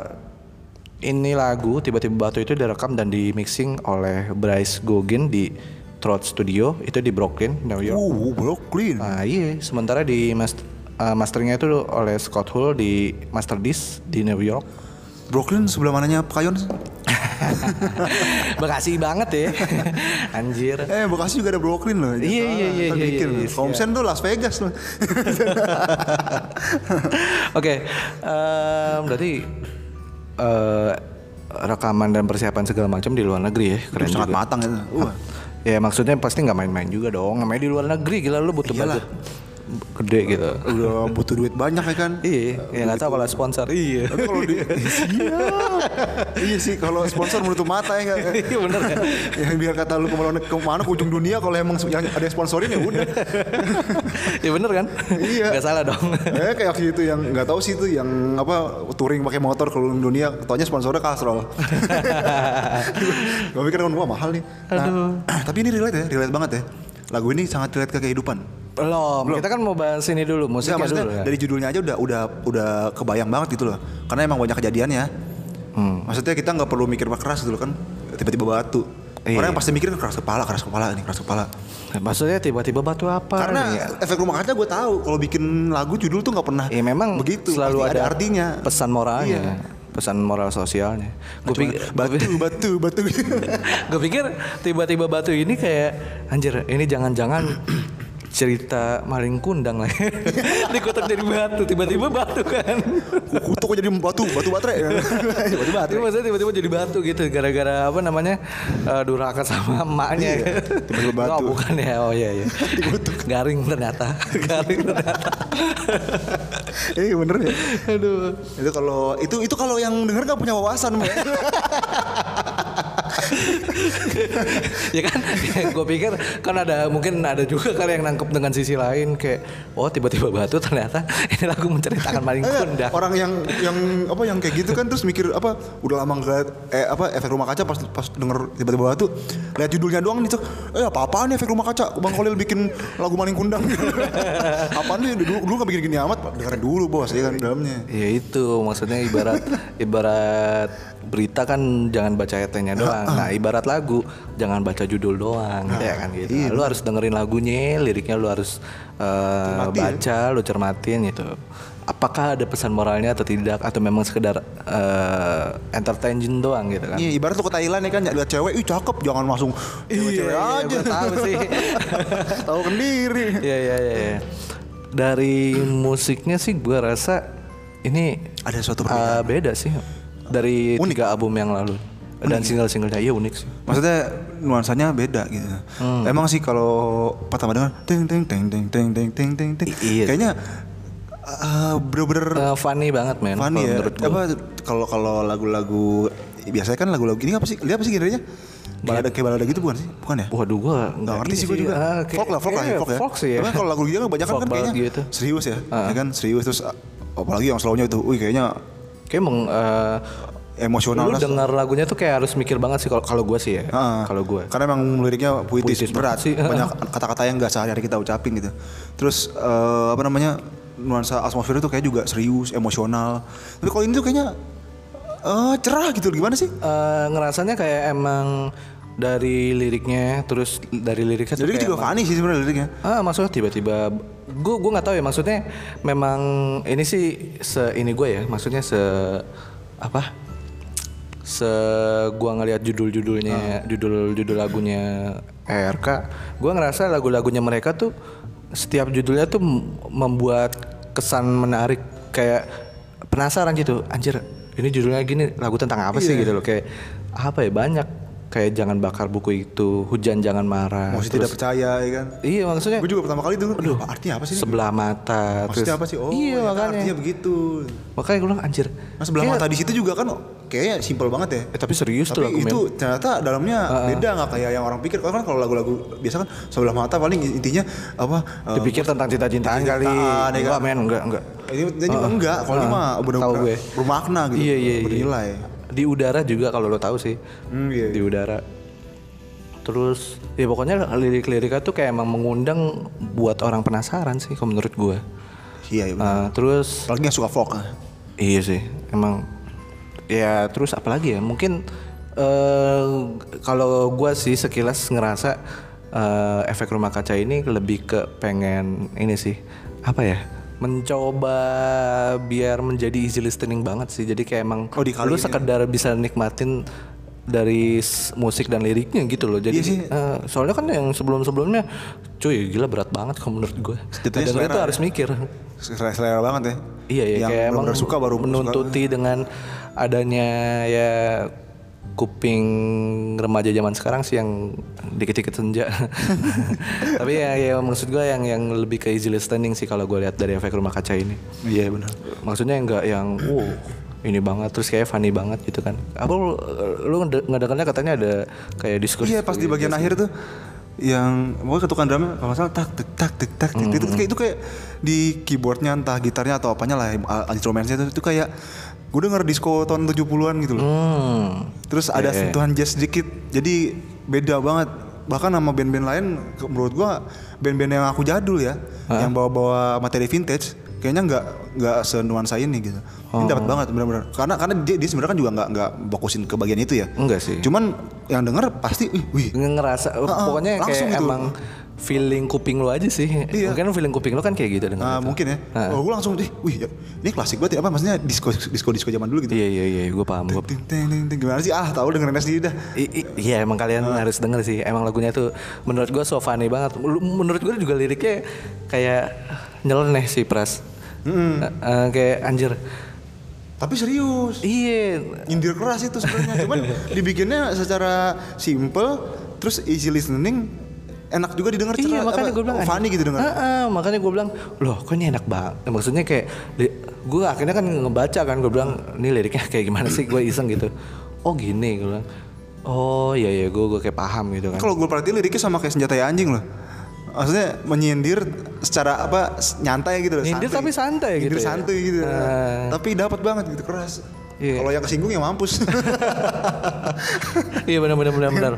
[SPEAKER 1] ini lagu tiba-tiba batu itu direkam dan di mixing oleh Bryce Gogin di Trot Studio itu di Brooklyn, New York.
[SPEAKER 2] Uh, Brooklyn.
[SPEAKER 1] Nah, iya, sementara di mas- eh, masteringnya itu oleh Scott Hull di Master Disc di New York.
[SPEAKER 2] Brooklyn sebelah mananya Pekayon?
[SPEAKER 1] Bekasi banget ya. Anjir.
[SPEAKER 2] Eh, Bekasi juga ada Brooklyn loh.
[SPEAKER 1] Iya,
[SPEAKER 2] Jangan
[SPEAKER 1] iya,
[SPEAKER 2] salah,
[SPEAKER 1] iya,
[SPEAKER 2] ntar
[SPEAKER 1] iya, iya,
[SPEAKER 2] bikin loh.
[SPEAKER 1] iya,
[SPEAKER 2] Komsen tuh Las Vegas loh.
[SPEAKER 1] Oke, em, berarti eh, rekaman dan persiapan segala macam di luar negeri ya, keren
[SPEAKER 2] Sangat
[SPEAKER 1] juga.
[SPEAKER 2] matang itu. Wah.
[SPEAKER 1] Ya maksudnya pasti nggak main-main juga dong, namanya di luar negeri gila lu butuh budget
[SPEAKER 2] Iyalah.
[SPEAKER 1] gede gitu.
[SPEAKER 2] Udah butuh duit banyak ya kan?
[SPEAKER 1] Iya, ya nggak tahu kalau sponsor. Iya.
[SPEAKER 2] Tapi kalau di iya. iya sih kalau sponsor menutup mata ya enggak.
[SPEAKER 1] Iya bener kan?
[SPEAKER 2] yang biar kata lu kemana kemana ke ujung dunia kalau emang yang ada yang sponsorin ya udah.
[SPEAKER 1] Iya bener kan?
[SPEAKER 2] Iya.
[SPEAKER 1] Gak salah dong.
[SPEAKER 2] eh kayak waktu itu yang nggak tahu sih itu yang apa touring pakai motor ke ujung dunia, taunya sponsornya Castrol. Gue pikir kan wah mahal nih. Nah, tapi ini relate ya, relate banget ya. Lagu ini sangat relate ke kehidupan.
[SPEAKER 1] Belum. Kita kan mau bahas ini dulu
[SPEAKER 2] Enggak,
[SPEAKER 1] musiknya
[SPEAKER 2] maksudnya
[SPEAKER 1] dulu. ya.
[SPEAKER 2] dari judulnya aja udah udah udah kebayang banget gitu loh. Karena emang banyak kejadiannya.
[SPEAKER 1] Hmm.
[SPEAKER 2] Maksudnya kita nggak perlu mikir keras gitu loh kan. Tiba-tiba batu.
[SPEAKER 1] Iya.
[SPEAKER 2] Orang yang pasti mikir keras kepala, keras kepala ini, keras kepala.
[SPEAKER 1] Maksudnya tiba-tiba batu apa?
[SPEAKER 2] Karena
[SPEAKER 1] nih ya?
[SPEAKER 2] efek rumah kaca gue tahu kalau bikin lagu judul tuh nggak pernah
[SPEAKER 1] Ya memang
[SPEAKER 2] begitu
[SPEAKER 1] selalu
[SPEAKER 2] Pasti
[SPEAKER 1] ada,
[SPEAKER 2] artinya
[SPEAKER 1] pesan moralnya,
[SPEAKER 2] Iya.
[SPEAKER 1] pesan moral sosialnya. Gue
[SPEAKER 2] Cuma batu batu batu
[SPEAKER 1] gue pikir tiba-tiba batu ini kayak anjir ini jangan-jangan cerita maling kundang lah dikutuk dari batu tiba-tiba batu kan
[SPEAKER 2] kutu kok jadi batu batu baterai batu Eh, batu ya?
[SPEAKER 1] Tiba-tiba maksudnya tiba-tiba jadi batu gitu gara-gara apa namanya eh, durhaka sama emaknya
[SPEAKER 2] Iya, tiba-tiba batu.
[SPEAKER 1] oh bukan ya oh iya iya garing ternyata garing ternyata
[SPEAKER 2] eh bener ya aduh itu kalau itu itu kalau yang denger nggak punya wawasan Mbak.
[SPEAKER 1] ya kan gue pikir kan ada mungkin ada juga kali yang nangkep dengan sisi lain kayak oh tiba-tiba batu ternyata ini lagu menceritakan maling
[SPEAKER 2] Eh,
[SPEAKER 1] kundang
[SPEAKER 2] orang yang yang apa yang kayak gitu kan terus mikir apa udah lama nggak eh apa efek rumah kaca pas pas denger tiba-tiba batu lihat judulnya doang nih tuh eh apa apaan efek rumah kaca bang Kolil bikin lagu maling kundang apaan nih dulu dulu nggak bikin gini amat dengerin dulu bos ya kan di dalamnya
[SPEAKER 1] Ya itu maksudnya ibarat ibarat berita kan jangan baca headline-nya doang. Nah, ibarat lagu jangan baca judul doang ya kan gitu.
[SPEAKER 2] iya.
[SPEAKER 1] Nah, lu harus dengerin lagunya, liriknya lu harus eh, baca, lu cermatin gitu. Apakah ada pesan moralnya atau tidak atau memang sekedar eh, entertain doang gitu kan?
[SPEAKER 2] Iya, ibarat lu ke Thailand ya kan lihat cewek, ih cakep, jangan langsung cewek-cewek aja.
[SPEAKER 1] gua tahu sih.
[SPEAKER 2] Tahu sendiri.
[SPEAKER 1] Iya iya iya. iya. Dari musiknya sih gua rasa ini
[SPEAKER 2] Ada suatu
[SPEAKER 1] Ah,
[SPEAKER 2] perbedaan.
[SPEAKER 1] beda sih dari
[SPEAKER 2] Unik.
[SPEAKER 1] tiga album yang lalu dan single-singlenya iya unik sih.
[SPEAKER 2] Maksudnya nuansanya beda gitu.
[SPEAKER 1] Hmm.
[SPEAKER 2] Emang sih kalau pertama dengar ting ting ting ting ting ting ting ting ting.
[SPEAKER 1] I- iya.
[SPEAKER 2] Kayaknya eh, bener-bener
[SPEAKER 1] Eh, funny banget men. kalau
[SPEAKER 2] funny ya.
[SPEAKER 1] menurut gua.
[SPEAKER 2] Apa kalau kalau lagu-lagu biasanya kan lagu-lagu ini apa sih? Lihat apa sih genrenya?
[SPEAKER 1] Iya.
[SPEAKER 2] Balada kayak balada gitu bukan sih? Bukan ya?
[SPEAKER 1] Waduh gua
[SPEAKER 2] Nggak ngerti
[SPEAKER 1] ini
[SPEAKER 2] sih gue juga.
[SPEAKER 1] Ah, kayak-
[SPEAKER 2] folk lah, folk lah,
[SPEAKER 1] iya,
[SPEAKER 2] ya, folk ya.
[SPEAKER 1] folk sih ya.
[SPEAKER 2] Tapi kalau lagu gila kebanyakan
[SPEAKER 1] Folk
[SPEAKER 2] kan
[SPEAKER 1] banget
[SPEAKER 2] kayaknya
[SPEAKER 1] gitu.
[SPEAKER 2] serius ya. Ya kan serius terus ah, apalagi yang slownya itu, wih kayaknya
[SPEAKER 1] Kayak emang eh,
[SPEAKER 2] emosional
[SPEAKER 1] lu
[SPEAKER 2] lah.
[SPEAKER 1] denger lagunya tuh kayak harus mikir banget sih kalau kalau gua sih ya.
[SPEAKER 2] Ah,
[SPEAKER 1] Kalau gua.
[SPEAKER 2] Karena emang liriknya puitis,
[SPEAKER 1] Puitis
[SPEAKER 2] berat
[SPEAKER 1] banget sih.
[SPEAKER 2] Banyak kata-kata yang gak sehari-hari kita ucapin gitu. Terus eh, apa namanya? nuansa atmosfernya tuh kayak juga serius, emosional. Tapi kalau ini tuh kayaknya eh cerah gitu gimana sih?
[SPEAKER 1] Eh, ngerasanya kayak emang dari liriknya terus dari liriknya tuh
[SPEAKER 2] Jadi gitu,
[SPEAKER 1] kayak
[SPEAKER 2] juga funny sih sebenarnya liriknya.
[SPEAKER 1] Ah, maksudnya tiba-tiba gue gue nggak tahu ya maksudnya memang ini sih se ini gue ya maksudnya se apa se gue ngelihat judul-judulnya judul-judul lagunya ERK gue ngerasa lagu-lagunya mereka tuh setiap judulnya tuh m- membuat kesan menarik kayak penasaran gitu anjir ini judulnya gini lagu tentang apa sih gitu loh kayak apa ya banyak kayak jangan bakar buku itu hujan jangan marah
[SPEAKER 2] Masih
[SPEAKER 1] terus-
[SPEAKER 2] tidak percaya ya kan.
[SPEAKER 1] Iya maksudnya
[SPEAKER 2] Gue juga pertama kali tuh, aduh artinya apa sih? ini?
[SPEAKER 1] sebelah mata
[SPEAKER 2] Maksudnya apa sih? Oh,
[SPEAKER 1] iya
[SPEAKER 2] ternyata
[SPEAKER 1] makanya Iya.
[SPEAKER 2] artinya begitu.
[SPEAKER 1] makanya gue bilang anjir
[SPEAKER 2] Nah, sebelah
[SPEAKER 1] kayak-
[SPEAKER 2] mata di situ juga kan kayaknya simpel banget ya.
[SPEAKER 1] eh, tapi serius tuh
[SPEAKER 2] Tapi
[SPEAKER 1] lagu Ah,
[SPEAKER 2] itu ternyata dalamnya beda nggak kayak yang orang pikir. Karena kan kalau lagu-lagu biasa kan sebelah mata paling intinya apa?
[SPEAKER 1] men.
[SPEAKER 2] eh,
[SPEAKER 1] dipikir tentang cinta-cintaan kali
[SPEAKER 2] Cinta-cintaan, ya
[SPEAKER 1] enggak
[SPEAKER 2] kan?
[SPEAKER 1] men enggak enggak
[SPEAKER 2] Ini ini mah enggak, kalau ini
[SPEAKER 1] Ah,
[SPEAKER 2] mah
[SPEAKER 1] tahu gue.
[SPEAKER 2] benar-benar bermakna gitu,
[SPEAKER 1] iya iya iya
[SPEAKER 2] bernilai.
[SPEAKER 1] di udara juga kalau lo tahu sih
[SPEAKER 2] Hmm, iya.
[SPEAKER 1] di udara terus ya pokoknya lirik-liriknya tuh kayak emang mengundang buat orang penasaran sih kalau menurut gue
[SPEAKER 2] Iya, iya. benar.
[SPEAKER 1] terus
[SPEAKER 2] Apalagi yang suka folk. ah.
[SPEAKER 1] Iya sih, emang ya terus apalagi ya mungkin eh, kalau gua sih sekilas ngerasa eh, efek rumah kaca ini lebih ke pengen ini sih apa ya mencoba biar menjadi easy listening banget sih jadi kayak emang
[SPEAKER 2] Oh,
[SPEAKER 1] lu
[SPEAKER 2] dikaliin ya.
[SPEAKER 1] sekedar bisa nikmatin dari s- musik dan liriknya gitu loh jadi
[SPEAKER 2] Iya sih.
[SPEAKER 1] eh, soalnya kan yang sebelum sebelumnya cuy gila berat banget kalau menurut gue
[SPEAKER 2] Jatuhnya
[SPEAKER 1] kadang
[SPEAKER 2] selera
[SPEAKER 1] itu
[SPEAKER 2] ya.
[SPEAKER 1] harus mikir
[SPEAKER 2] selera, selera banget ya
[SPEAKER 1] Iya ya,
[SPEAKER 2] yang
[SPEAKER 1] kayak emang
[SPEAKER 2] benar suka baru kan.
[SPEAKER 1] menuntuti dengan adanya ya kuping remaja zaman sekarang sih yang dikit-dikit senja. Tapi ya, ya maksud gue yang yang lebih ke easy listening sih kalau gue lihat dari efek rumah kaca ini.
[SPEAKER 2] suka. iya benar
[SPEAKER 1] Maksudnya nggak yang wow ini banget terus kayak funny banget gitu kan. Apa lu, lu ngede- ngedengarnya katanya ada kayak diskus?
[SPEAKER 2] Iya pas di bagian akhir tuh yang pokoknya ketukan drumnya kalau nggak salah tak tek tak tek tak
[SPEAKER 1] Hmm.
[SPEAKER 2] tek itu, kayak itu kayak di keyboardnya entah gitarnya atau apanya lah ya, a- instrumennya itu, itu kayak gue denger disco tahun 70-an gitu loh.
[SPEAKER 1] Hmm.
[SPEAKER 2] Terus ada sentuhan jazz sedikit. Jadi beda banget bahkan sama band-band lain ke- menurut gua band-band yang aku jadul ya yang bawa-bawa materi vintage kayaknya nggak nggak senuansa ini gitu. Ini dapat banget benar-benar karena karena dia, dia sebenarnya kan juga nggak nggak fokusin ke bagian itu ya.
[SPEAKER 1] Enggak sih.
[SPEAKER 2] Cuman yang denger pasti "Ih, wih
[SPEAKER 1] ngerasa oh, pokoknya kayak
[SPEAKER 2] langsung gitu. Iya.
[SPEAKER 1] emang feeling kuping lo aja sih. Mungkin feeling kuping lo kan kayak gitu dengan
[SPEAKER 2] Ah, mungkin ya. Oh, gue langsung deh, wih, ya, ini klasik banget ya apa maksudnya disco disco disco zaman dulu gitu.
[SPEAKER 1] Iya iya iya, gue paham gue.
[SPEAKER 2] Ting, ting, ting, ting. Gimana sih? Ah, tahu dengerinnya sendiri dah.
[SPEAKER 1] I- i- Iya emang kalian harus denger sih. Emang lagunya tuh menurut gue so funny banget. Lu- Menurut gue juga liriknya kayak nyeleneh sih pras. Eh, eh, kayak anjir.
[SPEAKER 2] Tapi serius,
[SPEAKER 1] Iya.
[SPEAKER 2] nyindir keras itu sebenarnya. Cuman dibikinnya secara simple, terus easy listening, enak juga didengar.
[SPEAKER 1] Iya
[SPEAKER 2] cerah-
[SPEAKER 1] makanya
[SPEAKER 2] apa,
[SPEAKER 1] gue bilang
[SPEAKER 2] funny
[SPEAKER 1] anjir.
[SPEAKER 2] gitu dengar.
[SPEAKER 1] Heeh, makanya gue bilang Loh kok ini enak banget Nah, Maksudnya kayak Gue akhirnya kan ngebaca kan Gue bilang Ini liriknya kayak gimana sih Gue iseng gitu Oh gini Gue bilang Oh iya iya gue gue kayak paham gitu kan
[SPEAKER 2] Kalau gue perhatiin liriknya sama kayak senjata ya anjing loh. Maksudnya menyindir secara apa s- nyantai gitu loh.
[SPEAKER 1] Nyindir tapi santai gitu
[SPEAKER 2] Nyindir
[SPEAKER 1] ya.
[SPEAKER 2] santai gitu.
[SPEAKER 1] Ah.
[SPEAKER 2] Tapi dapat banget gitu keras.
[SPEAKER 1] Iya.
[SPEAKER 2] Kalau yang kesinggung ya mampus.
[SPEAKER 1] Iya benar benar benar benar.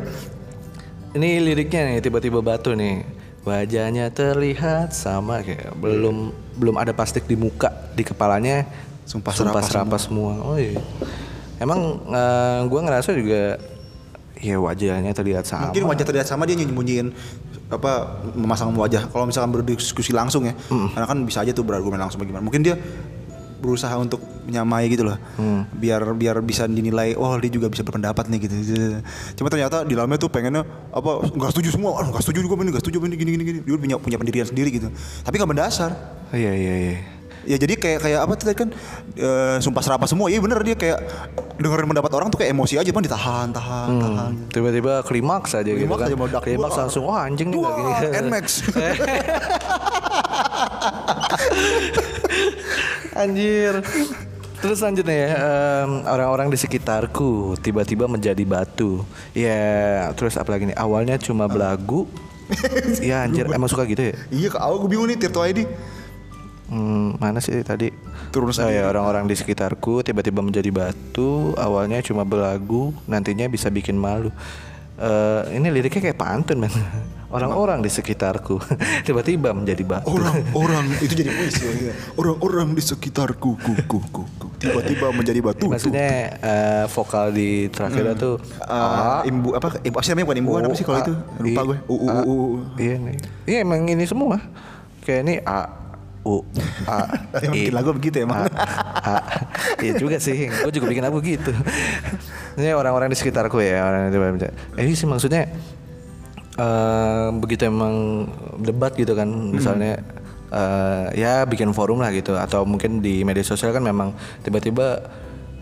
[SPEAKER 1] Ini liriknya nih tiba-tiba batu nih. Wajahnya terlihat sama kayak belum belum ada plastik di muka, di kepalanya
[SPEAKER 2] Sumpah
[SPEAKER 1] sumpah
[SPEAKER 2] serapah
[SPEAKER 1] serapah semua. Oh iya. Emang eh, gua ngerasa juga ya wajahnya terlihat sama.
[SPEAKER 2] Mungkin wajah terlihat sama dia nyembunyiin apa memasang wajah. Kalau misalkan berdiskusi langsung ya, karena kan bisa aja tuh berargumen langsung bagaimana. Mungkin dia berusaha untuk menyamai gitu loh, biar biar bisa dinilai, oh dia juga bisa berpendapat nih gitu. Cuma ternyata di dalamnya tuh pengennya apa nggak setuju semua, Aduh, nggak setuju juga ini nggak setuju ini gini gini gini. Dia punya punya pendirian sendiri gitu. Tapi nggak mendasar.
[SPEAKER 1] Oh, iya iya iya.
[SPEAKER 2] Ya jadi kayak kayak apa tuh tadi kan eh, sumpah serapah semua. Iya bener dia kayak dengerin pendapat orang tuh kayak emosi aja pan ditahan tahan tahan.
[SPEAKER 1] Hmm, Tiba-tiba klimaks aja gitu
[SPEAKER 2] Klimaks
[SPEAKER 1] kan.
[SPEAKER 2] aja meledak.
[SPEAKER 1] Klimaks
[SPEAKER 2] Wah.
[SPEAKER 1] langsung wah anjing nih
[SPEAKER 2] Wah,
[SPEAKER 1] nggak gini.
[SPEAKER 2] NMAX.
[SPEAKER 1] Anjir. Terus selanjutnya ya em, orang-orang di sekitarku tiba-tiba menjadi batu. Ya terus apalagi nih awalnya cuma belagu. ya anjir emang suka gitu ya.
[SPEAKER 2] Iya, kak, aku bingung nih Tirto ID.
[SPEAKER 1] Hmm, mana sih tadi?
[SPEAKER 2] Turun
[SPEAKER 1] Oh ya orang-orang di sekitarku tiba-tiba menjadi batu. Awalnya cuma belagu, nantinya bisa bikin malu. Eh, ini liriknya kayak pantun men. Orang-orang di sekitarku tiba-tiba menjadi
[SPEAKER 2] Oh,
[SPEAKER 1] batu.
[SPEAKER 2] Orang-orang itu jadi puisi. ya. Orang-orang di sekitarku, ku, ku, ku, ku. tiba-tiba menjadi batu.
[SPEAKER 1] Maksudnya eh, vokal di terakhirnya tuh
[SPEAKER 2] Ah, Oh, eh, imbu apa? Ibu, apa sih namanya bukan imbuhan apa sih kalau itu? Lupa gue. Eh, U, u, u, u, u.
[SPEAKER 1] Iya nih. Iya emang ini semua. Kayak ini A U A E.
[SPEAKER 2] Yang bikin lagu begitu ya, emang.
[SPEAKER 1] A, A. Iya juga sih. Gue juga bikin lagu gitu. Ini orang-orang di sekitarku ya orang itu. Eh, ini sih maksudnya eh, begitu emang debat gitu kan misalnya eh, ya bikin forum lah gitu atau mungkin di media sosial kan memang tiba-tiba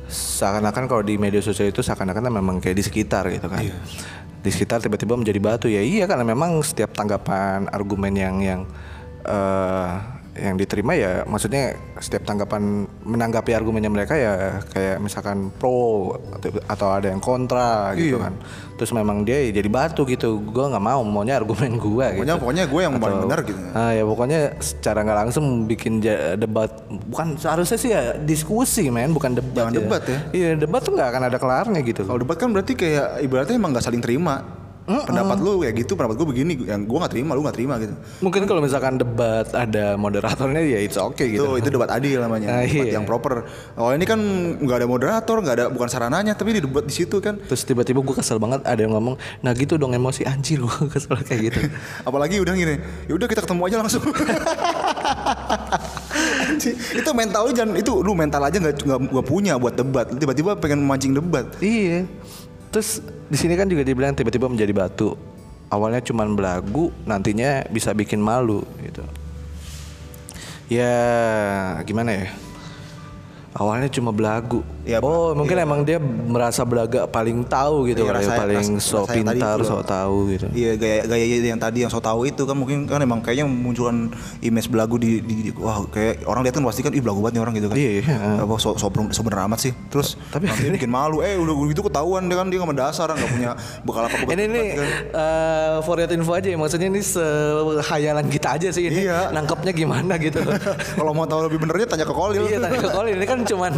[SPEAKER 1] seakan-akan kalau di media sosial itu seakan-akan memang kayak di sekitar gitu kan di sekitar tiba-tiba menjadi batu ya iya karena memang setiap tanggapan argumen yang yang eh, yang diterima ya maksudnya setiap tanggapan menanggapi argumennya mereka ya kayak misalkan pro atau- atau ada yang kontra gitu
[SPEAKER 2] Iya.
[SPEAKER 1] kan terus memang dia ya jadi batu gitu gue nggak mau maunya argumen gue gitu
[SPEAKER 2] Pokoknya, pokoknya gue yang paling benar gitu.
[SPEAKER 1] Ah, ya pokoknya secara nggak langsung bikin ja- debat bukan seharusnya sih ya diskusi men bukan debat
[SPEAKER 2] Jangan debat ya.
[SPEAKER 1] iya debat tuh nggak akan ada kelarnya gitu loh.
[SPEAKER 2] Kalau debat kan berarti kayak ibaratnya emang gak saling terima. pendapat lu kayak gitu pendapat gue begini yang gue nggak terima lu nggak terima gitu
[SPEAKER 1] Mungkin kalau misalkan debat ada moderatornya ya it's okay
[SPEAKER 2] itu
[SPEAKER 1] gitu.
[SPEAKER 2] itu debat adil
[SPEAKER 1] Ah,
[SPEAKER 2] namanya debat
[SPEAKER 1] iya.
[SPEAKER 2] yang proper kalau ini kan nggak ada moderator nggak ada bukan sarananya tapi di debat di situ kan
[SPEAKER 1] Terus tiba-tiba gue kesel banget ada yang ngomong, nah gitu dong emosi anjir gue kesel kayak gitu.
[SPEAKER 2] apalagi udah gini ya udah kita ketemu aja langsung Anjing, itu mental lu jangan itu lu mental aja nggak nggak nggak punya buat debat Lu tiba-tiba pengen memancing debat
[SPEAKER 1] iya. Terus di sini kan juga dibilang tiba-tiba menjadi batu. Awalnya cuman belagu, nantinya bisa bikin malu gitu. Ya gimana ya? Awalnya cuma belagu.
[SPEAKER 2] Iya,
[SPEAKER 1] oh mungkin emang dia merasa belaga paling tahu gitu,
[SPEAKER 2] Iya,
[SPEAKER 1] kali,
[SPEAKER 2] rasa-
[SPEAKER 1] paling
[SPEAKER 2] rasa-
[SPEAKER 1] so
[SPEAKER 2] rasa yang tadi
[SPEAKER 1] pintar,
[SPEAKER 2] itu
[SPEAKER 1] so
[SPEAKER 2] loh.
[SPEAKER 1] tahu gitu.
[SPEAKER 2] Iya gaya gaya yang tadi yang so tau itu kan mungkin kan emang kayaknya munculan image belagu di, di- di- wah kayak orang lihat kan pasti kan ih belagu banget nih orang gitu kan.
[SPEAKER 1] Iya, iya.
[SPEAKER 2] Apa so, so, bener- so bener amat sih. Terus
[SPEAKER 1] Tapi
[SPEAKER 2] nanti bikin malu. Eh udah gitu ketahuan dia kan dia nggak mendasar nggak punya bekal apa apa.
[SPEAKER 1] Ini nih eh, for your info aja ya maksudnya ini sehayalan kita aja sih ini
[SPEAKER 2] Iya.
[SPEAKER 1] nangkepnya gimana gitu.
[SPEAKER 2] Kalau mau tahu lebih benernya tanya ke Kolil.
[SPEAKER 1] iya tadi ke Colin ini kan cuman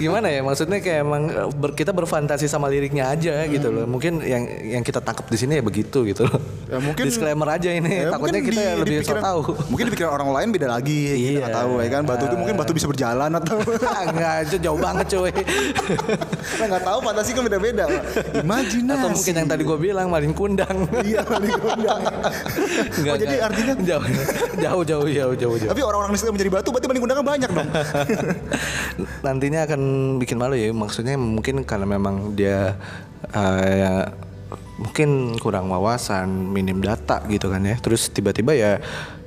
[SPEAKER 1] gimana ya maksudnya kayak emang eh, ber- kita berfantasi sama liriknya aja gitu loh. Mungkin yang yang kita tangkap di sini ya begitu gitu loh.
[SPEAKER 2] Hmm. Ya, mungkin-
[SPEAKER 1] disclaimer aja ini
[SPEAKER 2] Ya,
[SPEAKER 1] Eh, takutnya
[SPEAKER 2] mungkin
[SPEAKER 1] kita
[SPEAKER 2] di-
[SPEAKER 1] lebih
[SPEAKER 2] di
[SPEAKER 1] so
[SPEAKER 2] pikiran-
[SPEAKER 1] tahu.
[SPEAKER 2] Mungkin di pikiran orang lain beda lagi. Kita nggak
[SPEAKER 1] Iya.
[SPEAKER 2] tahu ya kan. Batu itu mungkin batu bisa berjalan atau
[SPEAKER 1] Enggak, itu jauh banget cuy.
[SPEAKER 2] Kita nggak tahu fantasi kan beda-beda. Pak. Imajinasi.
[SPEAKER 1] Atau mungkin yang tadi gue bilang Malin Kundang.
[SPEAKER 2] Iya, paling gondang.
[SPEAKER 1] Enggak,
[SPEAKER 2] Oh, jadi
[SPEAKER 1] enggak.
[SPEAKER 2] artinya
[SPEAKER 1] jauh jauh jauh jauh jauh jauh.
[SPEAKER 2] Tapi orang-orang di sekitar menjadi batu berarti maling undangan banyak dong.
[SPEAKER 1] nantinya akan bikin malu ya maksudnya mungkin karena memang dia eh, ya, mungkin kurang wawasan minim data gitu kan ya terus tiba-tiba ya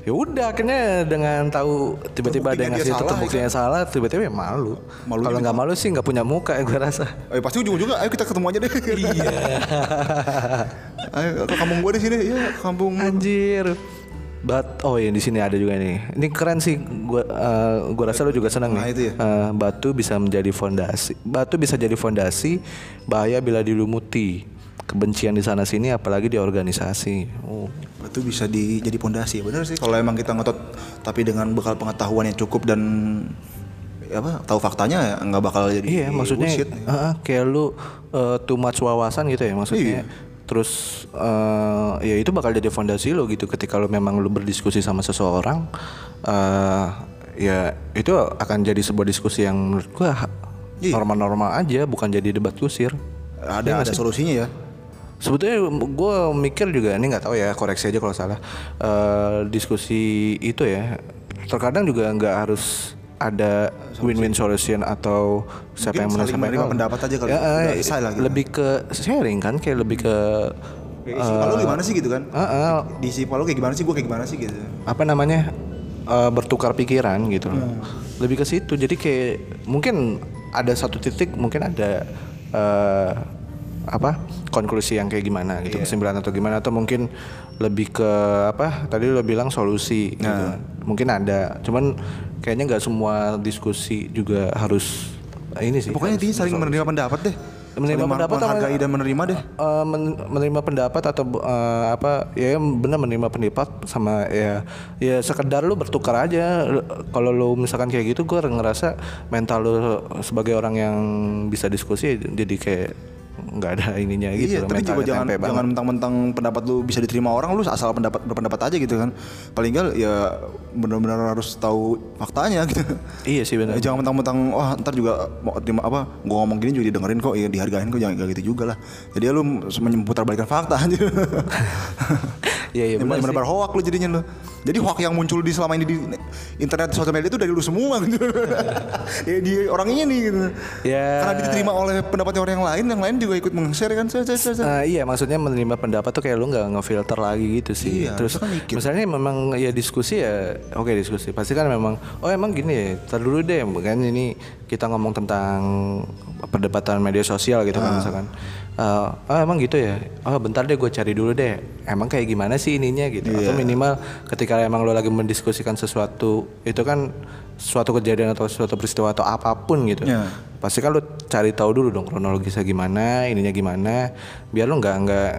[SPEAKER 1] ya udah akhirnya dengan tahu tiba-tiba ada yang
[SPEAKER 2] Terbuktinya
[SPEAKER 1] ngasih
[SPEAKER 2] dia salah, gitu.
[SPEAKER 1] terbuktinya salah tiba-tiba ya malu
[SPEAKER 2] Malunya gitu.
[SPEAKER 1] kalau nggak malu sih nggak punya muka gue rasa
[SPEAKER 2] Eh pasti ujung-ujungnya ayo kita ketemu aja deh. Iya. ayo ke kampung gue di sini. Iya, ke kampung.
[SPEAKER 1] anjir Bat oh ya di sini ada juga nih. Ini keren sih. Gua eh, gua rasa lu juga seneng nih.
[SPEAKER 2] Nah, itu ya.
[SPEAKER 1] Eh, batu bisa menjadi fondasi. Batu bisa jadi fondasi bahaya bila dilumuti. Kebencian di sana sini apalagi di organisasi. Oh.
[SPEAKER 2] Batu bisa di, jadi pondasi. ya Bener sih kalau emang kita ngotot tapi dengan bekal pengetahuan yang cukup dan ya apa tahu faktanya ya, nggak bakal jadi
[SPEAKER 1] Iya, maksudnya
[SPEAKER 2] bullshit.
[SPEAKER 1] eh, kayak lu eh, too much wawasan gitu ya
[SPEAKER 2] Iya.
[SPEAKER 1] maksudnya. Terus eh, ya itu bakal jadi fondasi lo gitu ketika lu memang lu berdiskusi sama seseorang eh, ya itu akan jadi sebuah diskusi yang menurut gua ha-
[SPEAKER 2] Iya.
[SPEAKER 1] normal-normal aja bukan jadi debat kusir.
[SPEAKER 2] ada
[SPEAKER 1] Iya,
[SPEAKER 2] ada solusinya ya.
[SPEAKER 1] Sebetulnya gue mikir juga ini nggak tahu ya koreksi aja kalau salah Eh, diskusi itu ya terkadang juga nggak harus ada win-win solution atau siapa yang menang
[SPEAKER 2] Mungkin saling
[SPEAKER 1] siapa yang
[SPEAKER 2] menerima
[SPEAKER 1] kalah.
[SPEAKER 2] pendapat aja kali,
[SPEAKER 1] Ya, eh,
[SPEAKER 2] udah selesai lah gitu.
[SPEAKER 1] lebih ke sharing kan kayak lebih ke
[SPEAKER 2] Kayak isi palu gimana sih gitu kan?
[SPEAKER 1] eh, eh,
[SPEAKER 2] Di isi palu kayak gimana sih? Gue kayak gimana sih gitu?
[SPEAKER 1] apa namanya eh, bertukar pikiran gitu loh. Lebih ke situ. Jadi kayak mungkin ada satu titik mungkin ada eh, apa konklusi yang kayak gimana gitu kesimpulan atau gimana atau mungkin lebih ke apa tadi lo bilang solusi gitu. Mungkin ada. Cuman kayaknya nggak semua diskusi juga harus ini sih.
[SPEAKER 2] Pokoknya
[SPEAKER 1] harus
[SPEAKER 2] intinya saling menerima pendapat deh.
[SPEAKER 1] Menerima
[SPEAKER 2] Saling
[SPEAKER 1] pendapat sama-
[SPEAKER 2] menghargai dan menerima deh.
[SPEAKER 1] Eh, men- menerima pendapat atau eh, apa ya benar menerima pendapat sama ya ya sekedar lu bertukar aja Lu- kalau lu misalkan kayak gitu gue ngerasa mental lu sebagai orang yang bisa diskusi jadi kayak nggak ada ininya gitu
[SPEAKER 2] iya,
[SPEAKER 1] loh,
[SPEAKER 2] tapi
[SPEAKER 1] mentalnya
[SPEAKER 2] juga jangan
[SPEAKER 1] tempe banget.
[SPEAKER 2] jangan mentang-mentang pendapat lu bisa diterima orang lu asal pendapat berpendapat aja gitu kan. Paling enggak ya benar-benar harus tahu faktanya gitu.
[SPEAKER 1] iya sih benar
[SPEAKER 2] jangan mentang-mentang wah ntar juga mau terima apa gua ngomong gini juga didengerin kok ya dihargain kok jangan kayak gitu juga lah jadi lu menyemputarbalikkan fakta aja
[SPEAKER 1] iya iya benar
[SPEAKER 2] benar benar hoak lu jadinya lu jadi hoak yang muncul di selama ini di internet sosial media itu dari lu semua gitu ya di orang ini gitu
[SPEAKER 1] Ya.
[SPEAKER 2] karena diterima oleh pendapatnya orang yang lain yang lain juga ikut meng-share kan saya saya
[SPEAKER 1] Eh, iya maksudnya menerima pendapat tuh kayak lu nggak ngefilter lagi gitu sih.
[SPEAKER 2] Iya,
[SPEAKER 1] Terus
[SPEAKER 2] itu kan mikir.
[SPEAKER 1] misalnya memang ya diskusi ya oke diskusi. Pasti kan memang oh emang gini ya. Ntar dulu deh kan ini kita ngomong tentang perdebatan media sosial gitu
[SPEAKER 2] Ah.
[SPEAKER 1] kan misalkan. Eh, oh emang gitu ya. Oh bentar deh gue cari dulu deh. Emang kayak gimana sih ininya gitu. Atau
[SPEAKER 2] Iya.
[SPEAKER 1] minimal ketika emang lo lagi mendiskusikan sesuatu itu kan suatu kejadian atau suatu peristiwa atau apapun gitu
[SPEAKER 2] Iya.
[SPEAKER 1] pasti kan lu cari tahu dulu dong kronologisnya gimana ininya gimana biar lu nggak nggak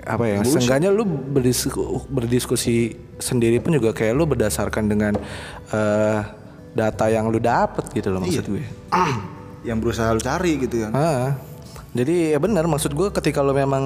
[SPEAKER 1] apa ya seenggaknya lu berdisku- berdiskusi sendiri pun juga kayak lu berdasarkan dengan eh, data yang lu dapet gitu loh maksud gue
[SPEAKER 2] yang berusaha lu cari gitu kan
[SPEAKER 1] Ah, Jadi ya benar maksud gue ketika lo memang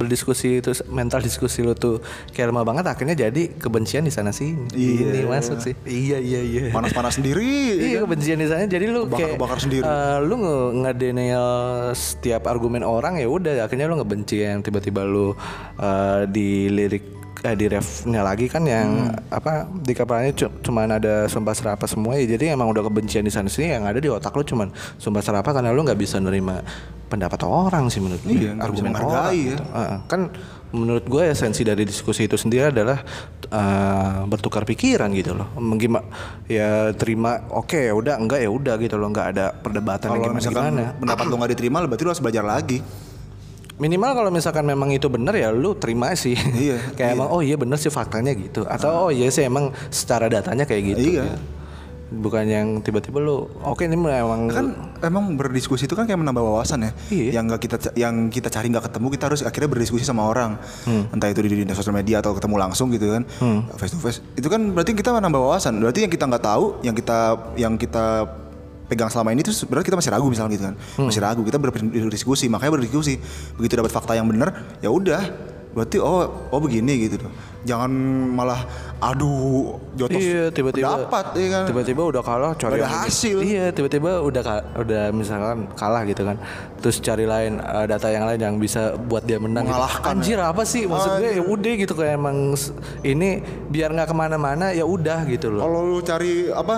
[SPEAKER 1] berdiskusi terus mental diskusi lo tuh kayak lemah banget akhirnya jadi kebencian di sana sini. Ini masuk sih. Iya iya iya.
[SPEAKER 2] Panas-panas sendiri.
[SPEAKER 1] Iya kebencian di sana jadi lu kayak
[SPEAKER 2] Kebakar-kebakar sendiri.
[SPEAKER 1] eh, lu nge ngedenial setiap argumen orang ya udah akhirnya lu ngebenci yang tiba-tiba lu eh, dilirik eh, di refnya lagi kan
[SPEAKER 2] Hmm.
[SPEAKER 1] yang apa di kapalnya cu- cuman ada sumpah serapah semua ya jadi emang udah kebencian di sana sini yang ada di otak lu cuman sumpah serapah karena lu nggak bisa nerima pendapat orang sih menurut gue.
[SPEAKER 2] Iya, nggak bisa menghargai ya.
[SPEAKER 1] gitu. Heeh. kan menurut gue esensi dari diskusi itu sendiri adalah eh, bertukar pikiran gitu loh. Menggima ya terima oke ya udah enggak ya udah gitu loh nggak ada perdebatan yang
[SPEAKER 2] Kalau
[SPEAKER 1] gimana
[SPEAKER 2] misalkan
[SPEAKER 1] gimana.
[SPEAKER 2] pendapat lu nggak diterima, berarti lu harus belajar lagi.
[SPEAKER 1] Minimal kalau misalkan memang itu benar ya lu terima sih.
[SPEAKER 2] Iya,
[SPEAKER 1] kayak emang oh iya benar sih faktanya gitu atau oh iya sih emang secara datanya kayak gitu.
[SPEAKER 2] Iya.
[SPEAKER 1] Bukan yang tiba-tiba lu oke ini memang
[SPEAKER 2] kan emang berdiskusi itu kan kayak menambah wawasan ya
[SPEAKER 1] Iya.
[SPEAKER 2] yang nggak kita yang kita cari nggak ketemu kita harus akhirnya berdiskusi sama orang
[SPEAKER 1] Hmm.
[SPEAKER 2] entah itu di, di sosial media atau ketemu langsung gitu kan face to face itu kan berarti kita menambah wawasan berarti yang kita nggak tahu yang kita yang kita pegang selama ini itu sebenarnya kita masih ragu misalnya gitu kan
[SPEAKER 1] Hmm.
[SPEAKER 2] masih ragu kita berdiskusi makanya berdiskusi begitu dapat fakta yang benar ya udah berarti oh oh begini gitu tuh jangan malah aduh jotos
[SPEAKER 1] Iya tiba-tiba
[SPEAKER 2] pendapat, ya kan
[SPEAKER 1] Tiba-tiba udah kalah cari
[SPEAKER 2] Nggak ada
[SPEAKER 1] yang lebih-
[SPEAKER 2] hasil.
[SPEAKER 1] Iya tiba-tiba udah ka- udah misalkan kalah gitu kan. Terus cari lain eh, data yang lain yang bisa buat dia menang. gitu.
[SPEAKER 2] Mengalahkan, ya?
[SPEAKER 1] Anjir apa sih maksud gue ya udah gitu kayak emang s- ini biar nggak kemana-mana ya udah gitu loh.
[SPEAKER 2] Kalau lu cari apa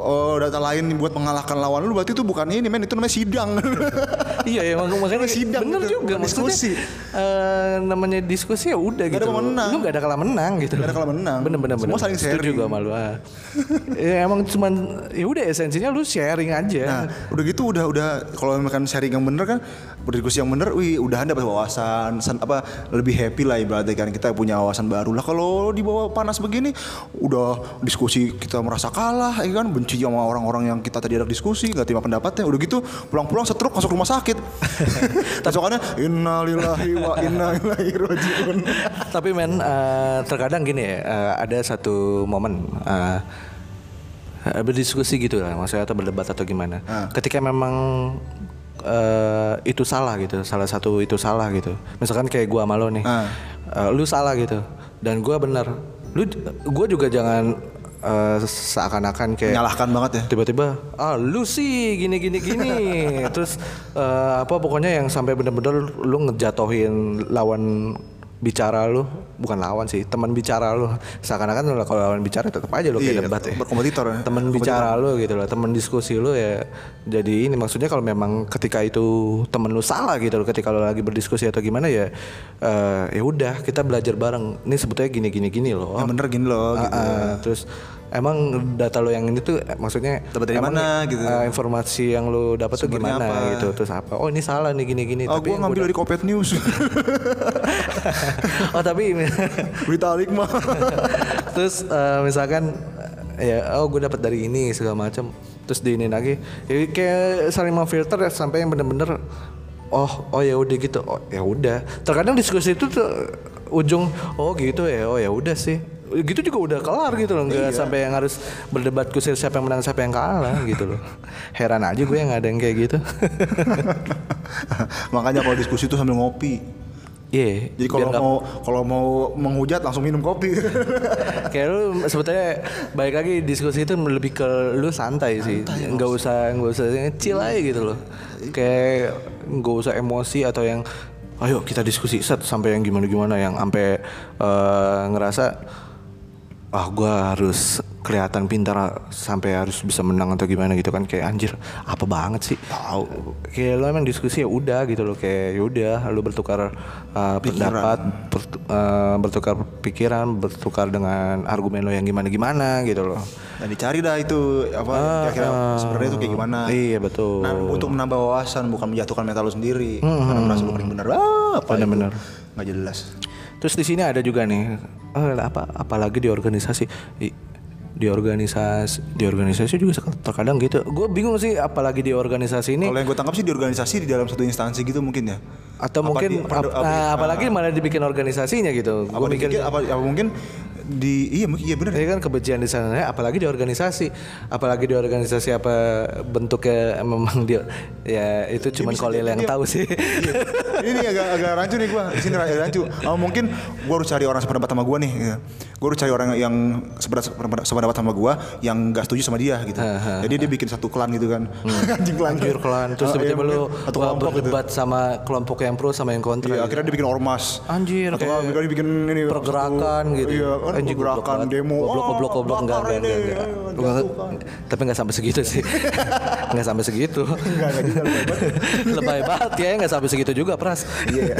[SPEAKER 2] eh, data lain buat mengalahkan lawan lu berarti itu bukan ini men itu namanya sidang.
[SPEAKER 1] iya ya mak- makanya
[SPEAKER 2] Sidang
[SPEAKER 1] bener
[SPEAKER 2] gitu,
[SPEAKER 1] juga maksudnya
[SPEAKER 2] diskusi.
[SPEAKER 1] eh, namanya diskusi ya udah gitu.
[SPEAKER 2] ada pemenang.
[SPEAKER 1] Lu gak ada kalah menang gitu.
[SPEAKER 2] Nggak ada kalah menang.
[SPEAKER 1] Bener-bener.
[SPEAKER 2] Semua saling sharing.
[SPEAKER 1] Juga malu. ah. ya, emang cuman ya udah esensinya lu sharing aja.
[SPEAKER 2] Nah, udah gitu udah udah kalau makan sharing yang bener kan berdiskusi yang bener, wih udahan dapat wawasan, sen- apa lebih happy lah ibaratnya kan kita punya wawasan baru lah. Kalau di bawah panas begini, udah diskusi kita merasa kalah, ya kan benci sama orang-orang yang kita tadi ada diskusi, nggak terima pendapatnya. Udah gitu pulang-pulang setruk masuk rumah sakit. Besokannya innalillahi wa inna ilaihi rajiun.
[SPEAKER 1] Tapi men eh, terkadang gini ya eh, ada satu momen eh, eh, berdiskusi gitu lah maksudnya atau berdebat atau gimana. Ketika memang eh, itu salah gitu, salah satu itu salah gitu. Misalkan kayak gua sama lo nih. Eh, lu salah gitu dan gua benar. Lu gua juga jangan eh, seakan-akan kayak
[SPEAKER 2] Menyalahkan banget ya.
[SPEAKER 1] tiba-tiba ah lu sih gini gini gini terus eh, apa pokoknya yang sampai bener-bener lu ngejatohin lawan bicara lu bukan lawan sih teman bicara lu seakan-akan lu kalau lawan bicara tetap aja lu kayak
[SPEAKER 2] Iya,
[SPEAKER 1] debat ya
[SPEAKER 2] berkompetitor ya.
[SPEAKER 1] teman bicara lu gitu loh teman diskusi lu ya jadi ini maksudnya kalau memang ketika itu temen lu salah gitu loh ketika lu lagi berdiskusi atau gimana ya eh, ya udah kita belajar bareng ini sebetulnya gini gini gini loh
[SPEAKER 2] Yang bener gini loh. gitu.
[SPEAKER 1] Ah, ah, terus emang data lo yang ini tuh eh, maksudnya
[SPEAKER 2] Dapat dari
[SPEAKER 1] emang,
[SPEAKER 2] mana, gitu?
[SPEAKER 1] eh, informasi yang lo dapat tuh
[SPEAKER 2] Sumbernya
[SPEAKER 1] gimana
[SPEAKER 2] apa?
[SPEAKER 1] gitu terus apa oh ini salah nih gini gini
[SPEAKER 2] Oh, gue ngambil dari Kopet News.
[SPEAKER 1] oh tapi
[SPEAKER 2] Berita Alikma.
[SPEAKER 1] terus eh, misalkan eh, ya oh gue dapat dari ini segala macam terus di ini lagi ya, kayak saling memfilter ya, sampai yang bener-bener oh oh ya udah gitu oh ya udah terkadang diskusi itu tuh ujung oh gitu ya oh ya udah sih gitu juga udah kelar gitu loh
[SPEAKER 2] Iya.
[SPEAKER 1] nggak sampai yang harus berdebat kusir siapa yang menang siapa yang kalah gitu loh heran aja gue yang ada yang kayak gitu
[SPEAKER 2] Makanya kalau diskusi itu sambil ngopi.
[SPEAKER 1] iya
[SPEAKER 2] Jadi
[SPEAKER 1] biar
[SPEAKER 2] kalau
[SPEAKER 1] nggak
[SPEAKER 2] mau kalau mau menghujat langsung minum kopi.
[SPEAKER 1] Kayak lu sebetulnya baik lagi diskusi itu lebih ke lu santai sih, nggak usah nggak usah chill aja gitu loh. Kayak nggak usah emosi atau yang ayo kita diskusi set sampai yang gimana gimana yang sampai eh, ngerasa ah gua harus kelihatan pintar sampai harus bisa menang atau gimana gitu kan kayak anjir apa banget sih tahu kayak lu emang diskusi ya udah gitu loh kayak ya udah lu bertukar eh, pendapat bert- eh, bertukar pikiran bertukar dengan argumen lo yang gimana gimana gitu loh
[SPEAKER 2] Nah dicari dah itu apa kira-kira sebenarnya itu kayak gimana.
[SPEAKER 1] Ah, iya betul Hmm,
[SPEAKER 2] Nah, untuk menambah wawasan bukan menjatuhkan mental lu sendiri karena merasa lu paling benar. Ah, apa benar nggak jelas.
[SPEAKER 1] terus di sini ada juga nih eh, apa apalagi di organisasi di, di organisasi di organisasi juga terkadang gitu gue bingung sih apalagi di organisasi ini
[SPEAKER 2] Kalau yang gue tangkap sih di organisasi di dalam satu instansi gitu mungkin ya.
[SPEAKER 1] atau
[SPEAKER 2] Apa
[SPEAKER 1] mungkin
[SPEAKER 2] di-
[SPEAKER 1] ap-
[SPEAKER 2] apa-
[SPEAKER 1] nah, apalagi malah dibikin organisasinya gitu Gua
[SPEAKER 2] apa dikit apa, apa mungkin di iya mungkin iya benar.
[SPEAKER 1] Ini kan kebencian di sana, apalagi di organisasi, apalagi di organisasi apa bentuknya memang dia ya itu cuman
[SPEAKER 2] bisa
[SPEAKER 1] kolil
[SPEAKER 2] jadi
[SPEAKER 1] yang
[SPEAKER 2] dia-
[SPEAKER 1] tahu sih.
[SPEAKER 2] Iya. ini nih agak agak rancu nih gue sini agak rancu Oh, mungkin gue harus cari orang sependapat sama gue nih gitu. gue harus cari orang yang sependapat sependapat sama gue yang gak setuju sama dia gitu jadi dia bikin satu klan gitu kan anjing klan
[SPEAKER 1] Hmm. Anjir kelan terus
[SPEAKER 2] Ah, iya,
[SPEAKER 1] tiba-tiba lu
[SPEAKER 2] mungkin. satu
[SPEAKER 1] wah,
[SPEAKER 2] kelompok gitu
[SPEAKER 1] berdebat sama kelompok yang pro sama yang kontra. gitu.
[SPEAKER 2] Iya, akhirnya dia bikin ormas
[SPEAKER 1] Anjir,
[SPEAKER 2] atau
[SPEAKER 1] kayak
[SPEAKER 2] akhirnya dia bikin ini
[SPEAKER 1] pergerakan
[SPEAKER 2] satu-
[SPEAKER 1] gitu.
[SPEAKER 2] iya kan
[SPEAKER 1] Anjing, goblok
[SPEAKER 2] pergerakan
[SPEAKER 1] banget.
[SPEAKER 2] demo Oh,
[SPEAKER 1] Goblok goblok goblok enggak enggak enggak.
[SPEAKER 2] Iya,
[SPEAKER 1] enggak. Enggak,
[SPEAKER 2] kan.
[SPEAKER 1] Tapi enggak sampai segitu sih. Enggak sampai segitu. Enggak enggak juga lebay banget. ya enggak sampai segitu juga, Pras.
[SPEAKER 2] iya ya.